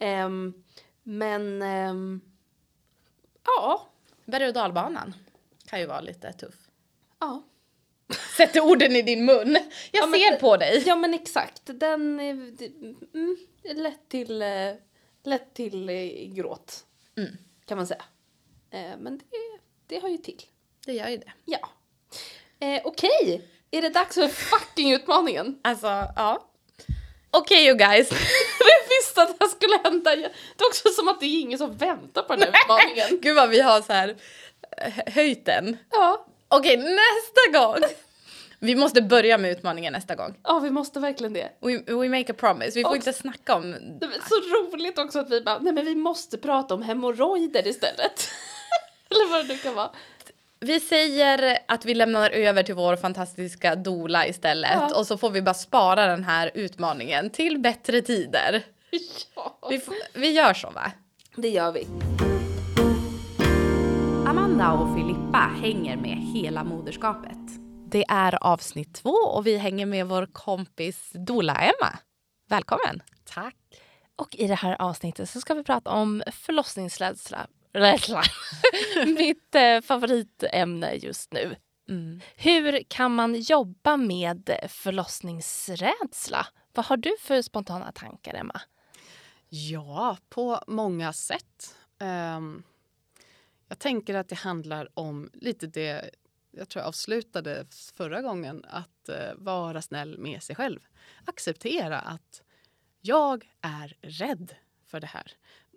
[SPEAKER 2] Ehm, men ehm, ja.
[SPEAKER 1] Berg och dalbanan kan ju vara lite tuff.
[SPEAKER 2] Ja.
[SPEAKER 1] *laughs* Sätter orden i din mun. Jag
[SPEAKER 2] Ja, men-
[SPEAKER 1] ser på dig.
[SPEAKER 2] Ja men exakt, den är mm, lätt till, eh, lätt till eh, gråt
[SPEAKER 1] Mm.
[SPEAKER 2] kan man säga. Eh, Men det, det hör ju till.
[SPEAKER 1] Det gör ju det.
[SPEAKER 2] Ja. Eh, Okej, är det dags för fucking utmaningen? *laughs*
[SPEAKER 1] Alltså, ja. Okej you guys.
[SPEAKER 2] Vem visste att det här skulle hända? Jag- Det är också som att det är ingen som väntar på den här utmaningen.
[SPEAKER 1] Gud vad vi har så här eh, höjt den.
[SPEAKER 2] Ja.
[SPEAKER 1] Okej, nästa gång. Vi måste börja med utmaningen nästa gång.
[SPEAKER 2] ja, vi måste verkligen det.
[SPEAKER 1] We, we make a promise. Vi får
[SPEAKER 2] Och-
[SPEAKER 1] inte snacka om...
[SPEAKER 2] Det var så roligt också att vi bara, nej men vi måste prata om hemorrojder istället. *laughs* Eller vad det nu kan vara.
[SPEAKER 1] Vi säger att vi lämnar över till vår fantastiska dola istället
[SPEAKER 2] Ja.
[SPEAKER 1] och så får vi bara spara den här utmaningen till bättre tider.
[SPEAKER 2] Ja.
[SPEAKER 1] Vi, f- vi gör så va?
[SPEAKER 2] Det gör vi.
[SPEAKER 1] Amanda och Filippa hänger med hela moderskapet. Det är avsnitt två och vi hänger med vår kompis Dola Emma. Välkommen!
[SPEAKER 4] Tack. Och i det här avsnittet så ska vi prata om förlossningsrädsla. Rädsla. *laughs* Mitt eh, favoritämne just nu. Hur kan man jobba med förlossningsrädsla? Vad har du för spontana tankar, Emma?
[SPEAKER 5] Ja, på många sätt. Ehm, jag tänker att det handlar om lite det jag tror jag avslutade förra gången. Att eh, vara snäll med sig själv. Acceptera att jag är rädd för det här.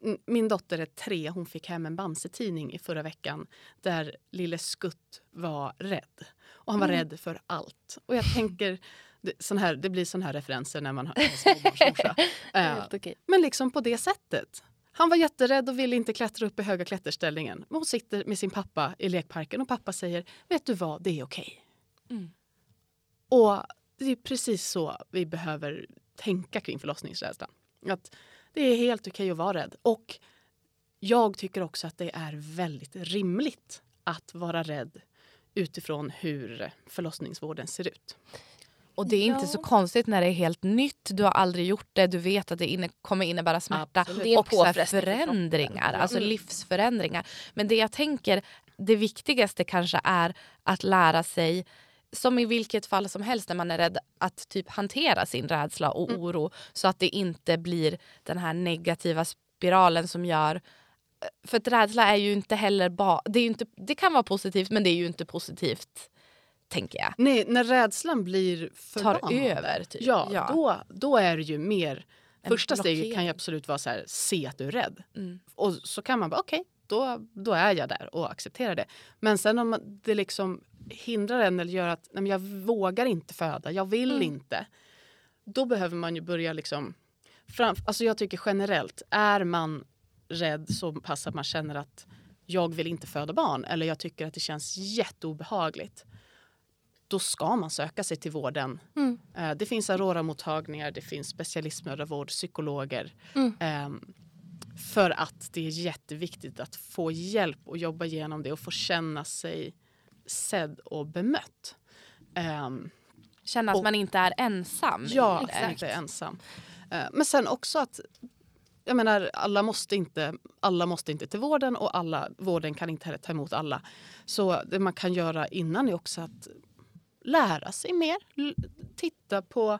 [SPEAKER 5] M- Min dotter är tre. Hon fick hem en Bamse-tidning i förra veckan där lille Skutt var rädd. Och han var rädd för allt. Och jag tänker, det, sån här, det blir sån här referenser när man har en småbarnsmorsa. Eh,
[SPEAKER 4] Helt okej.
[SPEAKER 5] men liksom på det sättet. Han var jätterädd och ville inte klättra upp i höga klätterställningen. Men hon sitter med sin pappa i lekparken och pappa säger Vet du vad, det är okej.
[SPEAKER 4] Mm.
[SPEAKER 5] Och det är precis så vi behöver tänka kring förlossningsrädslan. Att det är helt okej att vara rädd. Och jag tycker också att det är väldigt rimligt att vara rädd utifrån hur förlossningsvården ser ut.
[SPEAKER 1] Och det är inte
[SPEAKER 4] Ja.
[SPEAKER 1] så konstigt när det är helt nytt, du har aldrig gjort det, du vet att det inne, kommer innebära smärta
[SPEAKER 5] Absolut.
[SPEAKER 4] Det är en
[SPEAKER 1] och så här
[SPEAKER 4] påfrestning för kroppen.
[SPEAKER 1] förändringar, alltså
[SPEAKER 2] Mm.
[SPEAKER 1] livsförändringar. Men det jag tänker, det viktigaste kanske är att lära sig som i vilket fall som helst när man är rädd att typ hantera sin rädsla och
[SPEAKER 4] Mm.
[SPEAKER 1] oro så att det inte blir den här negativa spiralen som gör eh, för att rädsla är ju inte heller bara... Det, är ju inte- det kan vara positivt men det är ju inte positivt tänker jag.
[SPEAKER 5] Nej, när rädslan blir
[SPEAKER 1] Tar
[SPEAKER 5] förbannad.
[SPEAKER 1] över typ.
[SPEAKER 5] Ja, Då, då är det ju mer...
[SPEAKER 1] En
[SPEAKER 5] första steget kan
[SPEAKER 1] blockering.
[SPEAKER 5] ju absolut vara så här, se att du är rädd.
[SPEAKER 1] Mm.
[SPEAKER 5] Och så kan man bara, okej, då, då är jag där och accepterar det. Men sen om man- det liksom hindrar en eller gör att nej, men jag vågar inte föda, jag vill
[SPEAKER 1] Mm.
[SPEAKER 5] inte. Då behöver man ju börja liksom... Fram, alltså jag tycker generellt, är man rädd så pass att man känner att jag vill inte föda barn eller jag tycker att det känns jätteobehagligt. Då ska man söka sig till vården
[SPEAKER 4] Mm.
[SPEAKER 5] Eh, Det finns Aurora-mottagningar, det finns specialistmödravård, psykologer.
[SPEAKER 4] Mm.
[SPEAKER 5] Ehm, För att det är jätteviktigt att få hjälp och jobba igenom det och få känna sig sedd och bemött. Ehm,
[SPEAKER 1] Känna att
[SPEAKER 5] Och-
[SPEAKER 1] man inte är ensam. i
[SPEAKER 5] Ja,
[SPEAKER 1] det.
[SPEAKER 5] att inte ensam. Eh, Men sen också att jag menar, alla, måste inte, alla måste inte till vården och alla, vården kan inte heller ta emot alla. Så det man kan göra innan är också att lära sig mer. L- Titta på...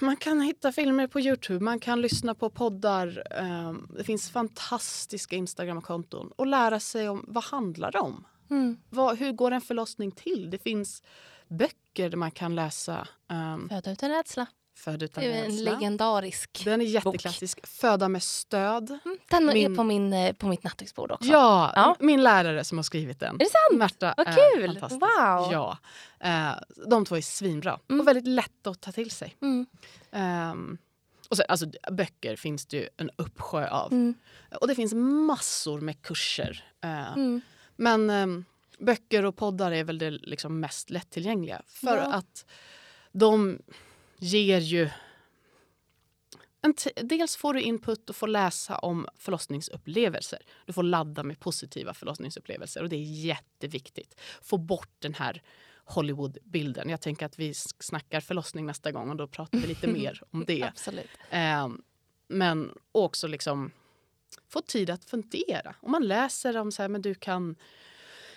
[SPEAKER 5] Man kan hitta filmer på Youtube, man kan lyssna på poddar. eh, Det finns fantastiska Instagram-konton. Och lära sig om vad handlar det om.
[SPEAKER 4] Mm.
[SPEAKER 5] Vad, hur går en förlossning till? Det finns böcker där man kan läsa. ehm,
[SPEAKER 4] Föda utan rädsla.
[SPEAKER 5] Född utan
[SPEAKER 4] Det är en
[SPEAKER 5] rädsla.
[SPEAKER 4] legendarisk.
[SPEAKER 5] Den är jätteklassisk. Föda med stöd.
[SPEAKER 4] Mm, Den är
[SPEAKER 5] Min-
[SPEAKER 4] på, min, eh, på mitt nattduksbord också.
[SPEAKER 5] Ja,
[SPEAKER 4] Ja.
[SPEAKER 5] min lärare som har skrivit den.
[SPEAKER 4] Är det sant?
[SPEAKER 5] Märta
[SPEAKER 4] Vad
[SPEAKER 5] är
[SPEAKER 4] kul!
[SPEAKER 5] fantastisk.
[SPEAKER 4] Wow.
[SPEAKER 5] Ja. Eh, de två är svinbra
[SPEAKER 4] Mm.
[SPEAKER 5] och väldigt lätta att ta till sig.
[SPEAKER 4] Mm.
[SPEAKER 5] Ehm, och sen, alltså, böcker finns det ju en uppsjö av.
[SPEAKER 4] Mm.
[SPEAKER 5] Och det finns massor med kurser. Eh,
[SPEAKER 4] Mm.
[SPEAKER 5] Men ehm, böcker och poddar är väl det liksom mest lättillgängliga. För
[SPEAKER 4] Ja.
[SPEAKER 5] att de ger ju... En t- dels får du input och får läsa om förlossningsupplevelser. Du får ladda med positiva förlossningsupplevelser och det är jätteviktigt. Få bort den här Hollywood-bilden. Jag tänker att vi s- snackar förlossning nästa gång och då pratar vi lite mer
[SPEAKER 2] *laughs*
[SPEAKER 5] om det.
[SPEAKER 4] Absolut.
[SPEAKER 5] Ehm, men också liksom få tid att fundera. Om man läser om så här, men du kan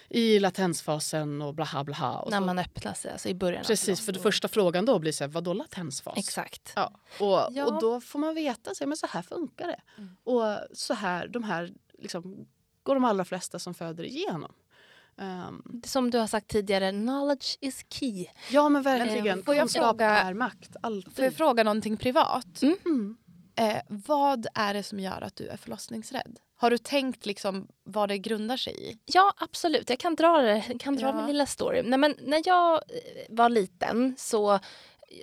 [SPEAKER 5] i latensfasen och blaha blaha. Och
[SPEAKER 2] När
[SPEAKER 5] så.
[SPEAKER 2] man öppnar sig, alltså i början. av
[SPEAKER 5] Precis, för den
[SPEAKER 2] förlossningen.
[SPEAKER 5] första frågan då blir så här, vadå latensfas?
[SPEAKER 2] Exakt.
[SPEAKER 5] Ja, och,
[SPEAKER 2] Ja. Mm.
[SPEAKER 5] och då får man veta så, här, men så här funkar det. Och så här, de här liksom, går de allra flesta som föder igenom. Ehm,
[SPEAKER 2] Som du har sagt tidigare, knowledge is key.
[SPEAKER 5] ja men
[SPEAKER 2] eh,
[SPEAKER 5] verkligen,
[SPEAKER 6] Men får jag
[SPEAKER 5] kunskap
[SPEAKER 6] fråga-
[SPEAKER 5] är makt.
[SPEAKER 1] Får jag
[SPEAKER 5] Alltid.
[SPEAKER 1] fråga någonting privat?
[SPEAKER 2] Mm.
[SPEAKER 5] Mm.
[SPEAKER 1] Eh, vad är det som gör att du är förlossningsrädd? Har du tänkt liksom vad det grundar sig i?
[SPEAKER 2] Ja, absolut. Jag kan dra, det. Jag kan dra
[SPEAKER 1] Ja.
[SPEAKER 2] min lilla story. Nej, men när jag eh, var liten så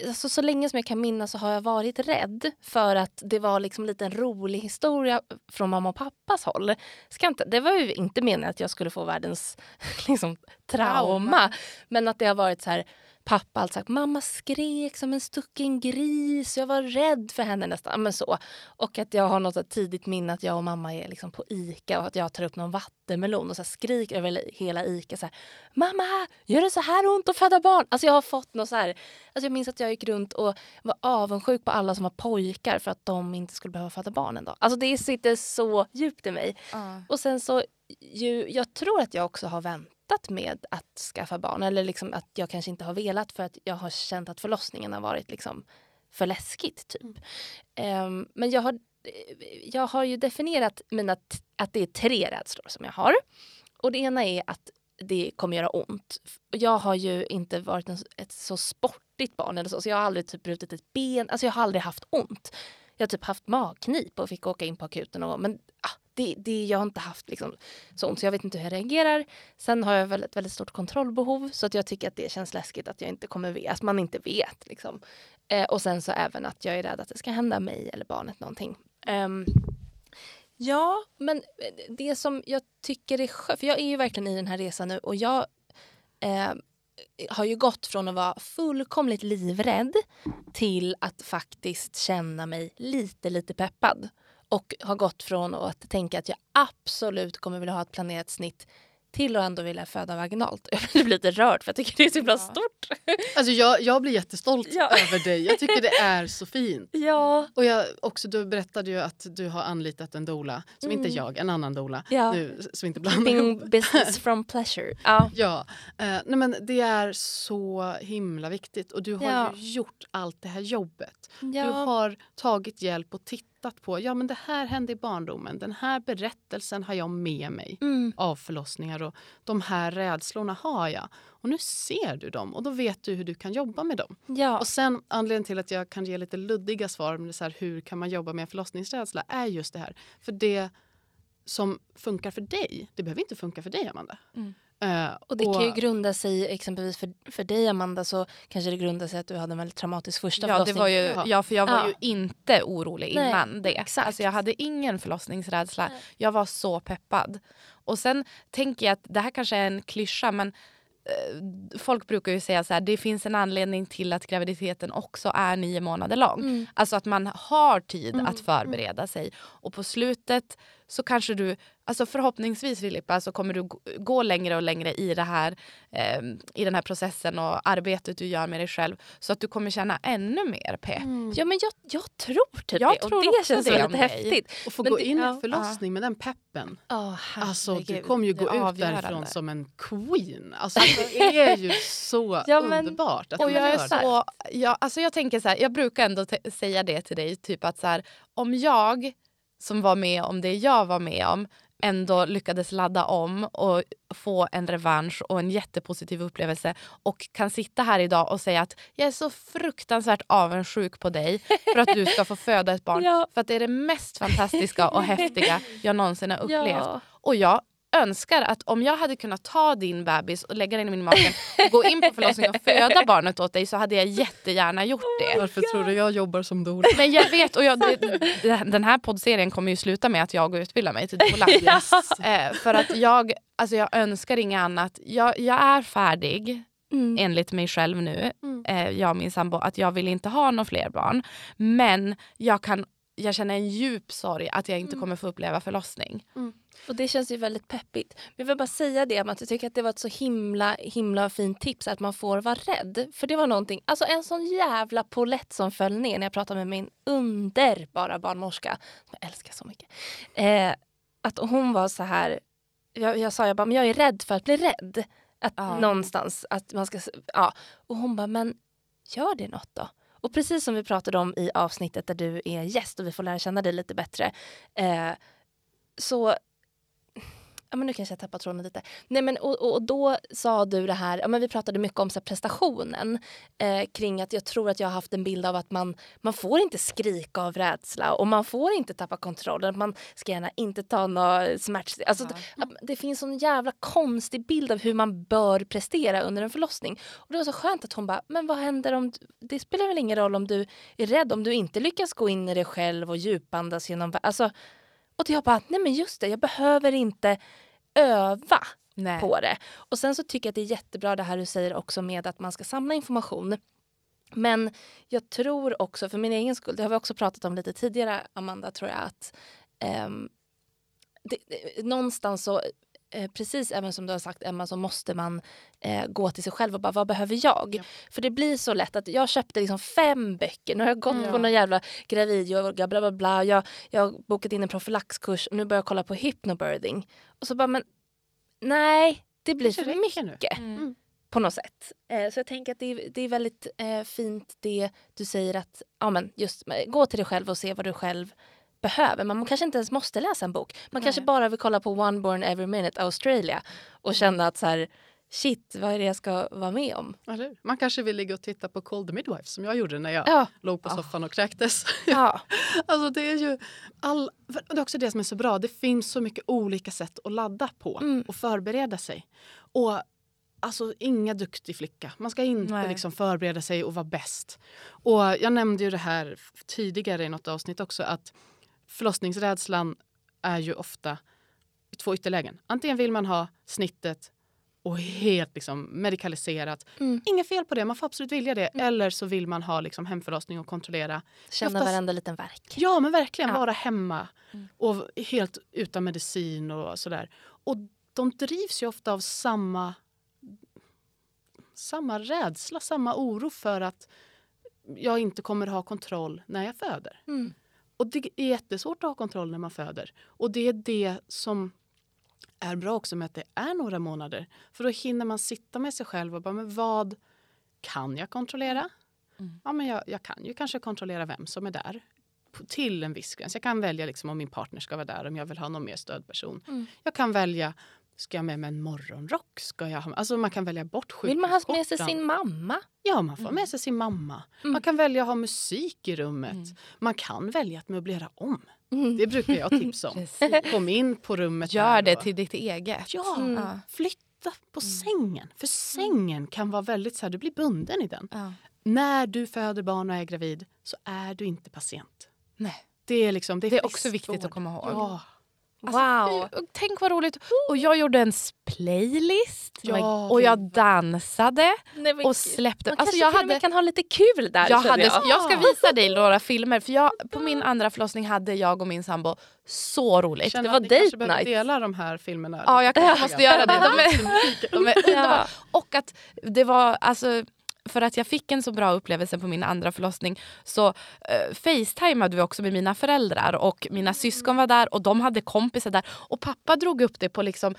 [SPEAKER 2] Alltså, så länge som jag kan minnas så har jag varit rädd för att det var liksom lite en rolig historia från mamma och pappas håll. Ska inte, det var ju inte meningen att jag skulle få världens *laughs* liksom, trauma. Men att det har varit så här, pappa har alltid sagt mamma skrek som en stucken gris. Jag var rädd för henne nästan. Men så. Och att jag har något tidigt minne att jag och mamma är liksom på Ica och att jag tar upp någon vattenmelon och så här skriker över hela Ica. Så här, mamma, gör det så här ont att föda barn? Alltså jag har fått något så här. Alltså jag minns att jag gick runt och var avundsjuk på alla som var pojkar för att de inte skulle behöva föda barn en dag. Alltså det sitter så djupt i mig. Och sen så, ju, jag tror att jag också har väntat med att skaffa barn. Eller liksom att jag kanske inte har velat för att jag har känt att förlossningen har varit liksom för läskigt. Typ. Ehm, men jag har, jag har ju definierat mina, t- att det är tre rädslor som jag har. Och det ena är att det kommer göra ont. Och Jag har ju inte varit en, ett så sportigt barn eller så, så jag har aldrig typ brutit ett ben. Alltså jag har aldrig haft ont. Jag har typ haft magknip och fick åka in på akuten. Och, men ah, det, det, jag har inte haft liksom, så ont, så jag vet inte hur jag reagerar. Sen har jag väl ett väldigt stort kontrollbehov så att jag tycker att det känns läskigt att jag inte kommer vet, att man inte vet. Liksom. Eh, och sen så även att jag är rädd att det ska hända mig eller barnet någonting. Ehm, ja, men eh, det som jag tycker är skönt, för jag är ju verkligen i den här resan nu och jag eh, har ju gått från att vara fullkomligt livrädd till att faktiskt känna mig lite, lite peppad. Och har gått från att tänka att jag absolut kommer vilja ha ett planerat snitt till att ändå vilja föda vaginalt. *laughs* Jag blir lite rörd för jag tycker det är så himla stort.
[SPEAKER 5] Alltså, jag, jag blir jättestolt
[SPEAKER 2] Ja.
[SPEAKER 5] *laughs* över dig. Jag
[SPEAKER 2] *laughs*
[SPEAKER 5] tycker det är så fint.
[SPEAKER 2] Ja.
[SPEAKER 5] Och jag, också, du berättade ju att du har anlitat en doula, som inte är jag, en annan doula.
[SPEAKER 2] Mm. Ja.
[SPEAKER 5] Nu, så vi inte blandar ihop.
[SPEAKER 2] Keeping business from pleasure. Ja.
[SPEAKER 5] Ja, eh, nej men det är så himla viktigt och du har
[SPEAKER 2] Ja.
[SPEAKER 5] ju gjort allt det här jobbet. Du
[SPEAKER 2] Ja.
[SPEAKER 5] har tagit hjälp och tittat på, ja men det här hände i barndomen, den här berättelsen har jag med mig
[SPEAKER 2] Mm.
[SPEAKER 5] av förlossningar och de här rädslorna har jag. Och nu ser du dem och då vet du hur du kan jobba med dem.
[SPEAKER 2] ja.
[SPEAKER 5] Och sen anledningen till att jag kan ge lite luddiga svar om det så här, hur kan man jobba med förlossningsrädsla är just det här. För det som funkar för dig, det behöver inte funka för dig Amanda. Eh,
[SPEAKER 2] Mm. Och det kan ju grunda sig i, exempelvis för, för dig Amanda så kanske det grundar sig att du hade en väldigt traumatisk första
[SPEAKER 1] Ja, det
[SPEAKER 2] förlossning.
[SPEAKER 1] var ju,
[SPEAKER 5] Ja.
[SPEAKER 1] ja, för jag var
[SPEAKER 2] Ja.
[SPEAKER 1] ju inte orolig
[SPEAKER 2] Nej,
[SPEAKER 1] innan det.
[SPEAKER 2] exakt.
[SPEAKER 1] Alltså, jag hade ingen förlossningsrädsla. Jag var så peppad. Och sen tänker jag att det här kanske är en klyscha men eh, folk brukar ju säga så här, det finns en anledning till att graviditeten också är nio månader lång.
[SPEAKER 2] Mm.
[SPEAKER 1] Alltså att man har tid att förbereda sig. Och på slutet så kanske du, alltså förhoppningsvis Filippa, så kommer du g- gå längre och längre i, det här, eh, i den här processen och arbetet du gör med dig själv. Så att du kommer känna ännu mer pepp.
[SPEAKER 2] Ja men jag, jag tror typ
[SPEAKER 1] Jag
[SPEAKER 2] det
[SPEAKER 1] tror
[SPEAKER 2] och det
[SPEAKER 1] också
[SPEAKER 2] känns
[SPEAKER 1] det
[SPEAKER 2] väldigt
[SPEAKER 1] om dig.
[SPEAKER 2] häftigt.
[SPEAKER 5] Och få
[SPEAKER 2] Men
[SPEAKER 5] gå
[SPEAKER 2] det-
[SPEAKER 5] in i
[SPEAKER 2] ja.
[SPEAKER 5] en förlossning med den peppen.
[SPEAKER 2] Oh,
[SPEAKER 5] Alltså du kommer ju gå
[SPEAKER 1] det är
[SPEAKER 5] ut
[SPEAKER 1] avgörande.
[SPEAKER 5] därifrån som en queen. Alltså det är ju så
[SPEAKER 2] Ja, men-
[SPEAKER 5] underbart att
[SPEAKER 1] Och
[SPEAKER 5] man
[SPEAKER 1] jag, är
[SPEAKER 5] gör det.
[SPEAKER 1] så, jag, alltså jag, tänker så här, jag brukar ändå te- säga det till dig, typ att så här, om jag som var med om det jag var med om ändå lyckades ladda om och få en revansch och en jättepositiv upplevelse och kan sitta här idag och säga att jag är så fruktansvärt avundsjuk på dig för att du ska få föda ett *laughs* barn.
[SPEAKER 2] Ja.
[SPEAKER 1] För att det är det mest fantastiska och häftiga jag någonsin har upplevt.
[SPEAKER 2] Ja.
[SPEAKER 1] Och jag önskar att om jag hade kunnat ta din bebis och lägga den i min mage och gå in på förlossningen och föda barnet åt dig så hade jag jättegärna gjort det.
[SPEAKER 5] Varför tror du jag jobbar som doula?
[SPEAKER 1] Men jag vet, och jag, det- den här poddserien kommer ju sluta med att jag går och utbildar mig till doula. Eh, för att jag, alltså jag önskar inget annat. Jag, jag är färdig
[SPEAKER 2] Mm.
[SPEAKER 1] enligt mig själv nu, eh, jag och min sambo, att jag vill inte ha några fler barn. Men jag, kan, jag känner en djup sorg att jag inte kommer få uppleva förlossning.
[SPEAKER 2] Och det känns ju väldigt peppigt. Men jag vill bara säga det, att jag tycker att det var ett så himla, himla fint tips att man får vara rädd. För det var någonting, alltså en sån jävla polett som föll ner när jag pratade med min underbara barnmorska, som jag älskar så mycket. Eh, att hon var så här,
[SPEAKER 4] jag, jag sa jag bara, men jag är rädd för att bli rädd. Att
[SPEAKER 1] Ja.
[SPEAKER 4] någonstans, att man ska, s- ja. Och hon bara, men gör det något då? Och precis som vi pratade om i avsnittet där du är gäst och vi får lära känna dig lite bättre. Eh, så, ja men nu kanske jag tappar tråden lite. Nej men och, och, och då sa du det här, ja men vi pratade mycket om så här, prestationen. Eh, kring att jag tror att jag har haft en bild av att man, man får inte skrika av rädsla och man får inte tappa kontrollen. att Man ska gärna inte ta några smärts... Alltså, att, att det finns sån jävla konstig bild av hur man bör prestera under en förlossning. Och det var så skönt att hon bara, men vad händer om... du- Det spelar väl ingen roll om du är rädd om du inte lyckas gå in i dig själv och djupandas genom... Alltså, och jag bara, nej men just det, jag behöver inte öva
[SPEAKER 1] Nej.
[SPEAKER 4] på det. Och sen så tycker jag att det är jättebra det här du säger också med att man ska samla information. Men jag tror också, för min egen skull, det har vi också pratat om lite tidigare Amanda tror jag, att ehm, det, det, någonstans så, eh, precis även som du har sagt Emma, så måste man eh, gå till sig själv och bara vad behöver jag? För det blir så lätt att jag köpte liksom fem böcker, nu har jag gått på någon jävla gravidyoga, bla bla bla, jag, jag har bokat in en profylaxkurs och nu börjar jag kolla på hypnobirthing. Och så bara men nej, det blir
[SPEAKER 5] Kanske
[SPEAKER 4] för
[SPEAKER 5] räcker nu. Mm.
[SPEAKER 4] mycket på något sätt. Eh, så jag tänker att det är, det är väldigt eh, fint det du säger att ja, men just eh, gå till dig själv och se vad du själv behöver. Man kanske inte ens måste läsa en bok. Man kanske bara vill kolla på One Born Every Minute Australia
[SPEAKER 5] Mm.
[SPEAKER 4] och känna att så här, shit, vad är det jag ska vara med om?
[SPEAKER 5] Eller? hur? Man kanske vill ligga och titta på Call the Midwife som jag gjorde när jag
[SPEAKER 4] Ja.
[SPEAKER 5] låg på soffan och kräktes.
[SPEAKER 4] Ja.
[SPEAKER 5] Alltså det är ju all, det är också det som är så bra. Det finns så mycket olika sätt att ladda på och förbereda sig. Och alltså inga duktig flicka. Man ska inte
[SPEAKER 1] Nej.
[SPEAKER 5] liksom förbereda sig och vara bäst. Och jag nämnde ju det här f- tidigare i något avsnitt också att förlossningsrädslan är ju ofta i två ytterlägen. Antingen vill man ha snittet och helt liksom medikaliserat. Inga fel på det, man får absolut vilja det. Eller så vill man ha liksom hemförlossning och kontrollera.
[SPEAKER 4] Känna
[SPEAKER 5] Oftast-
[SPEAKER 4] varenda liten verk.
[SPEAKER 5] Ja, men verkligen. Vara hemma och helt utan medicin och sådär. Och de drivs ju ofta av samma, samma rädsla, samma oro för att jag inte kommer ha kontroll när jag föder. Och det är jättesvårt att ha kontroll när man föder. Och det är det som är bra också med att det är några månader. För då hinner man sitta med sig själv och bara, men vad kan jag kontrollera?
[SPEAKER 4] Mm.
[SPEAKER 5] Ja, men jag, jag kan ju kanske kontrollera vem som är där på- till en viss gräns. Jag kan välja liksom om min partner ska vara där, om jag vill ha någon mer stödperson.
[SPEAKER 4] Mm.
[SPEAKER 5] Jag kan välja, ska jag med mig en morgonrock? Ska jag ha, alltså man kan välja bort
[SPEAKER 4] Vill man ha med sig
[SPEAKER 5] sjukhusskjortan.
[SPEAKER 4] sin mamma?
[SPEAKER 5] Ja, man får
[SPEAKER 1] Mm.
[SPEAKER 5] med sig sin mamma. Man kan välja att ha musik i rummet.
[SPEAKER 1] Mm.
[SPEAKER 5] Man kan välja att möblera om. Det brukar jag
[SPEAKER 1] *laughs*
[SPEAKER 5] tipsa om. Kom in på rummet.
[SPEAKER 1] Gör
[SPEAKER 5] där
[SPEAKER 1] det
[SPEAKER 5] och-
[SPEAKER 1] till Mm. ditt eget. Mm.
[SPEAKER 5] Ja, flytta på sängen. För sängen kan vara väldigt så här, du blir bunden i den.
[SPEAKER 1] Ja.
[SPEAKER 5] När du föder barn och är gravid så är du inte patient.
[SPEAKER 1] Nej.
[SPEAKER 5] Det är, liksom, det är,
[SPEAKER 1] Det är också
[SPEAKER 5] friskvård.
[SPEAKER 1] viktigt att komma ihåg.
[SPEAKER 5] Ja.
[SPEAKER 4] Alltså, Wow!
[SPEAKER 1] Och Tänk vad roligt. Och jag gjorde en playlist
[SPEAKER 5] Ja,
[SPEAKER 1] och jag dansade
[SPEAKER 4] Nej, men
[SPEAKER 1] och
[SPEAKER 4] gud.
[SPEAKER 1] släppte.
[SPEAKER 4] man
[SPEAKER 1] Alltså,
[SPEAKER 4] kanske
[SPEAKER 1] jag
[SPEAKER 4] till och med
[SPEAKER 1] hade,
[SPEAKER 4] kan ha lite kul där
[SPEAKER 1] jag,
[SPEAKER 4] känner
[SPEAKER 1] hade,
[SPEAKER 4] jag.
[SPEAKER 1] jag ska visa dig några filmer. För jag, på min andra förlossning hade jag och min sambo så roligt.
[SPEAKER 5] Känner
[SPEAKER 4] det
[SPEAKER 5] att
[SPEAKER 4] var
[SPEAKER 5] ni
[SPEAKER 4] date
[SPEAKER 5] kanske behöver
[SPEAKER 4] night.
[SPEAKER 5] dela de här filmerna.
[SPEAKER 1] Ja, jag
[SPEAKER 5] lite
[SPEAKER 1] kanske
[SPEAKER 5] grann.
[SPEAKER 1] måste göra det. De är, de är underbara.
[SPEAKER 4] Ja.
[SPEAKER 1] Och att det var, alltså, för att jag fick en så bra upplevelse på min andra förlossning så eh, facetimade vi också med mina föräldrar och mina syskon var där och de hade kompisar där och pappa drog upp det på liksom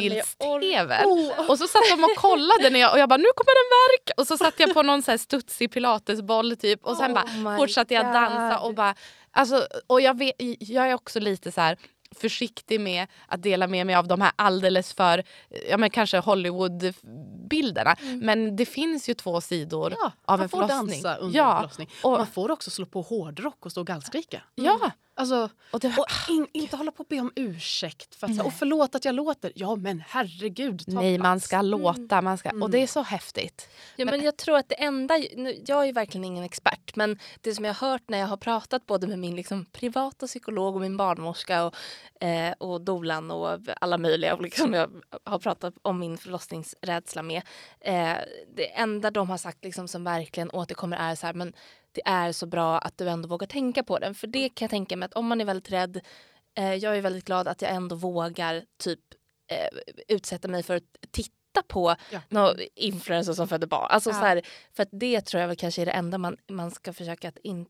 [SPEAKER 1] storbilds-tv. Och så satt de och kollade när jag, och jag bara nu kommer den verk och så satt jag på någon så här studsig pilatesboll typ och sen
[SPEAKER 4] Oh
[SPEAKER 1] bara
[SPEAKER 4] my
[SPEAKER 1] fortsatte jag
[SPEAKER 4] God.
[SPEAKER 1] dansa och bara alltså, och jag, vet, jag är också lite så här försiktig med att dela med mig av de här alldeles för ja, men kanske Hollywood-bilderna. Men det finns ju två sidor
[SPEAKER 5] Mm. Ja,
[SPEAKER 1] av
[SPEAKER 5] man
[SPEAKER 1] en
[SPEAKER 5] får
[SPEAKER 1] förlossning.
[SPEAKER 5] dansa under en förlossning.
[SPEAKER 1] Och,
[SPEAKER 5] Man får också slå på hårdrock och stå och gallskrika.
[SPEAKER 1] ja,
[SPEAKER 5] Alltså,
[SPEAKER 1] och det,
[SPEAKER 5] och in, inte hålla på och be om ursäkt. För att, så här, och förlåt att jag låter. Ja, men herregud. ta
[SPEAKER 1] nej, man
[SPEAKER 5] plats.
[SPEAKER 1] ska låta. Man ska,
[SPEAKER 5] Mm.
[SPEAKER 1] och det är så häftigt.
[SPEAKER 4] Ja, men jag tror att det enda, nu, jag är ju verkligen ingen expert men det som jag har hört när jag har pratat både med min liksom, privata psykolog och min barnmorska och, eh, och dolan och alla möjliga och liksom, jag har pratat om min förlossningsrädsla med. Eh, det enda de har sagt liksom, som verkligen återkommer är så här men det är så bra att du ändå vågar tänka på den för det kan jag tänka mig att om man är väldigt rädd eh, jag är väldigt glad att jag ändå vågar typ eh, utsätta mig för att titta på
[SPEAKER 5] Ja.
[SPEAKER 4] någon influencer som föder barn. Alltså, så här, för att det tror jag väl kanske är det enda man, man ska försöka att in,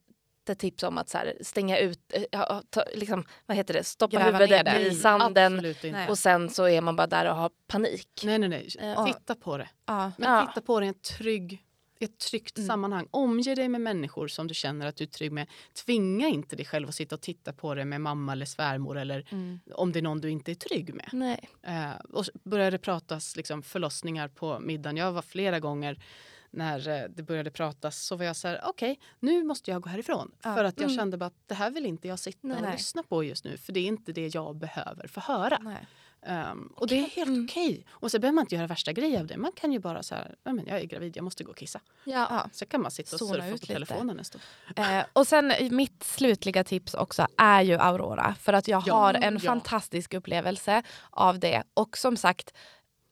[SPEAKER 4] ett tips om att så här, stänga ut, eh, ja, ta, liksom, vad heter det, stoppa
[SPEAKER 1] Gräva ner
[SPEAKER 4] huvudet
[SPEAKER 1] det.
[SPEAKER 4] i
[SPEAKER 1] Nej,
[SPEAKER 4] sanden
[SPEAKER 5] Absolut inte.
[SPEAKER 1] Nej.
[SPEAKER 4] och sen så är man bara där och har panik.
[SPEAKER 5] Nej, nej, nej.
[SPEAKER 4] Eh,
[SPEAKER 5] Titta på det.
[SPEAKER 1] Ja. Mm.
[SPEAKER 5] Men
[SPEAKER 4] Ja.
[SPEAKER 5] titta på det i en trygg, i ett tryggt sammanhang. Omge dig med människor som du känner att du är trygg med. Tvinga inte dig själv att sitta och titta på det med mamma eller svärmor eller
[SPEAKER 1] Mm.
[SPEAKER 5] om det är någon du inte är trygg med.
[SPEAKER 4] Nej.
[SPEAKER 5] Eh, och så började det pratas liksom, förlossningar på middagen. Jag var flera gånger när eh, det började pratas så var jag så här, okej, nu måste jag gå härifrån. För att jag kände bara att det här vill inte jag sitta och
[SPEAKER 1] mm. Nej.
[SPEAKER 5] lyssna på just nu. För det är inte det jag behöver få höra.
[SPEAKER 1] Nej. Mm.
[SPEAKER 5] Ehm, och det är helt okej. Och så behöver man inte göra värsta grejen av det. Man kan ju bara så här, "Ja, men jag är gravid, jag måste gå och kissa.
[SPEAKER 4] Ja.
[SPEAKER 1] Ja.
[SPEAKER 5] Så kan man sitta och
[SPEAKER 1] Zona
[SPEAKER 5] surfa på
[SPEAKER 1] ut lite.
[SPEAKER 5] telefonen en stund.
[SPEAKER 1] Eh, och sen eh, mitt slutliga tips också är ju Aurora. För att jag
[SPEAKER 5] Ja,
[SPEAKER 1] har en
[SPEAKER 5] ja.
[SPEAKER 1] fantastisk upplevelse av det. Och som sagt,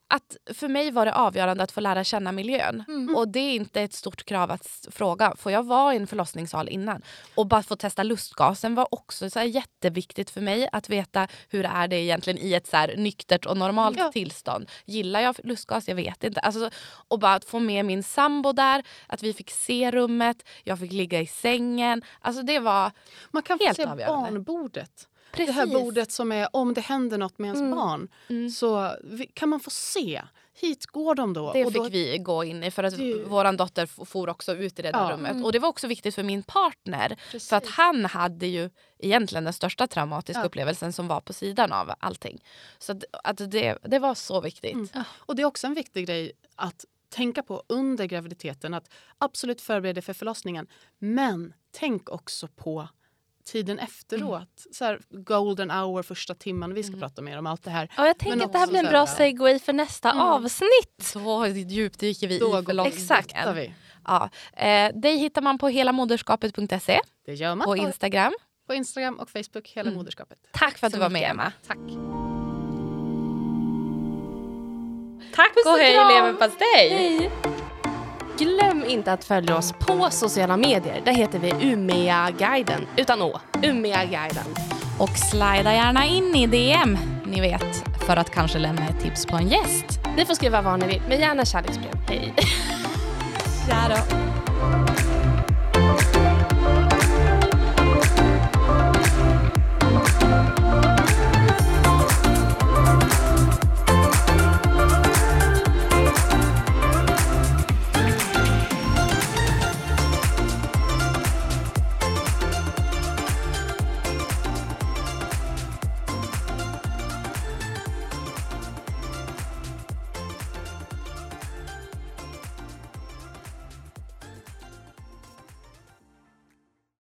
[SPEAKER 1] att för mig var det avgörande att få lära känna miljön. Och det är inte ett stort krav att s- fråga. Får jag vara i en förlossningssal innan? Och bara få testa lustgasen var också så här jätteviktigt för mig. Att veta hur är det egentligen i ett så här nyktert och normalt
[SPEAKER 5] Ja.
[SPEAKER 1] tillstånd. Gillar jag lustgas? Jag vet inte. Alltså, och bara att få med min sambo där. Att vi fick se rummet. Jag fick ligga i sängen. Alltså det var...
[SPEAKER 5] Man kan
[SPEAKER 1] Helt
[SPEAKER 5] få se
[SPEAKER 1] avgörande.
[SPEAKER 5] barnbordet.
[SPEAKER 1] Precis. Mm.
[SPEAKER 5] Det här bordet som är om det händer något med ens barn så vi- kan man få se. Hit går de då.
[SPEAKER 1] Det
[SPEAKER 5] och
[SPEAKER 1] fick
[SPEAKER 5] då
[SPEAKER 1] vi gå in i för att
[SPEAKER 5] Det är ju-
[SPEAKER 1] vår dotter f- for också ut i det där
[SPEAKER 5] Ja. Mm.
[SPEAKER 1] rummet. Och det var också viktigt för min partner. För att han hade ju egentligen den största traumatiska
[SPEAKER 5] Ja.
[SPEAKER 1] upplevelsen som var på sidan av allting. Så att, att det, det var så viktigt.
[SPEAKER 5] Mm. Och det är också en viktig grej att tänka på under graviditeten. Att absolut förbereda er för förlossningen. Men tänk också på tiden efteråt.
[SPEAKER 1] Mm.
[SPEAKER 5] Så här, golden hour, första timmen. Vi ska prata mer om allt det här.
[SPEAKER 4] Ja, jag tänker
[SPEAKER 5] Men
[SPEAKER 4] att det här
[SPEAKER 5] också
[SPEAKER 4] blir en
[SPEAKER 5] så
[SPEAKER 4] bra
[SPEAKER 5] här- Mm.
[SPEAKER 4] segway för nästa avsnitt.
[SPEAKER 1] Så djupt dyker vi
[SPEAKER 5] Då går
[SPEAKER 1] i
[SPEAKER 5] vi-
[SPEAKER 1] förlossningen.
[SPEAKER 5] Hittar Vi.
[SPEAKER 1] Ja. Eh, dig hittar man på helamoderskapet.se
[SPEAKER 5] Det gör man
[SPEAKER 1] på Mm. Instagram.
[SPEAKER 5] på Instagram och Facebook, hela moderskapet.
[SPEAKER 1] Tack för att du var med Emma.
[SPEAKER 5] Tack.
[SPEAKER 4] Tack
[SPEAKER 7] Gå och hej leverpastej!
[SPEAKER 4] Hej! Glöm inte att följa oss på sociala medier. Där heter vi Umeåguiden utan å. Umeåguiden.
[SPEAKER 1] Och slida gärna in i DM, ni vet, för att kanske lämna ett tips på en gäst.
[SPEAKER 4] Ni får skriva vad ni vill, men gärna kärleksbrev. Hej!
[SPEAKER 1] Tja då.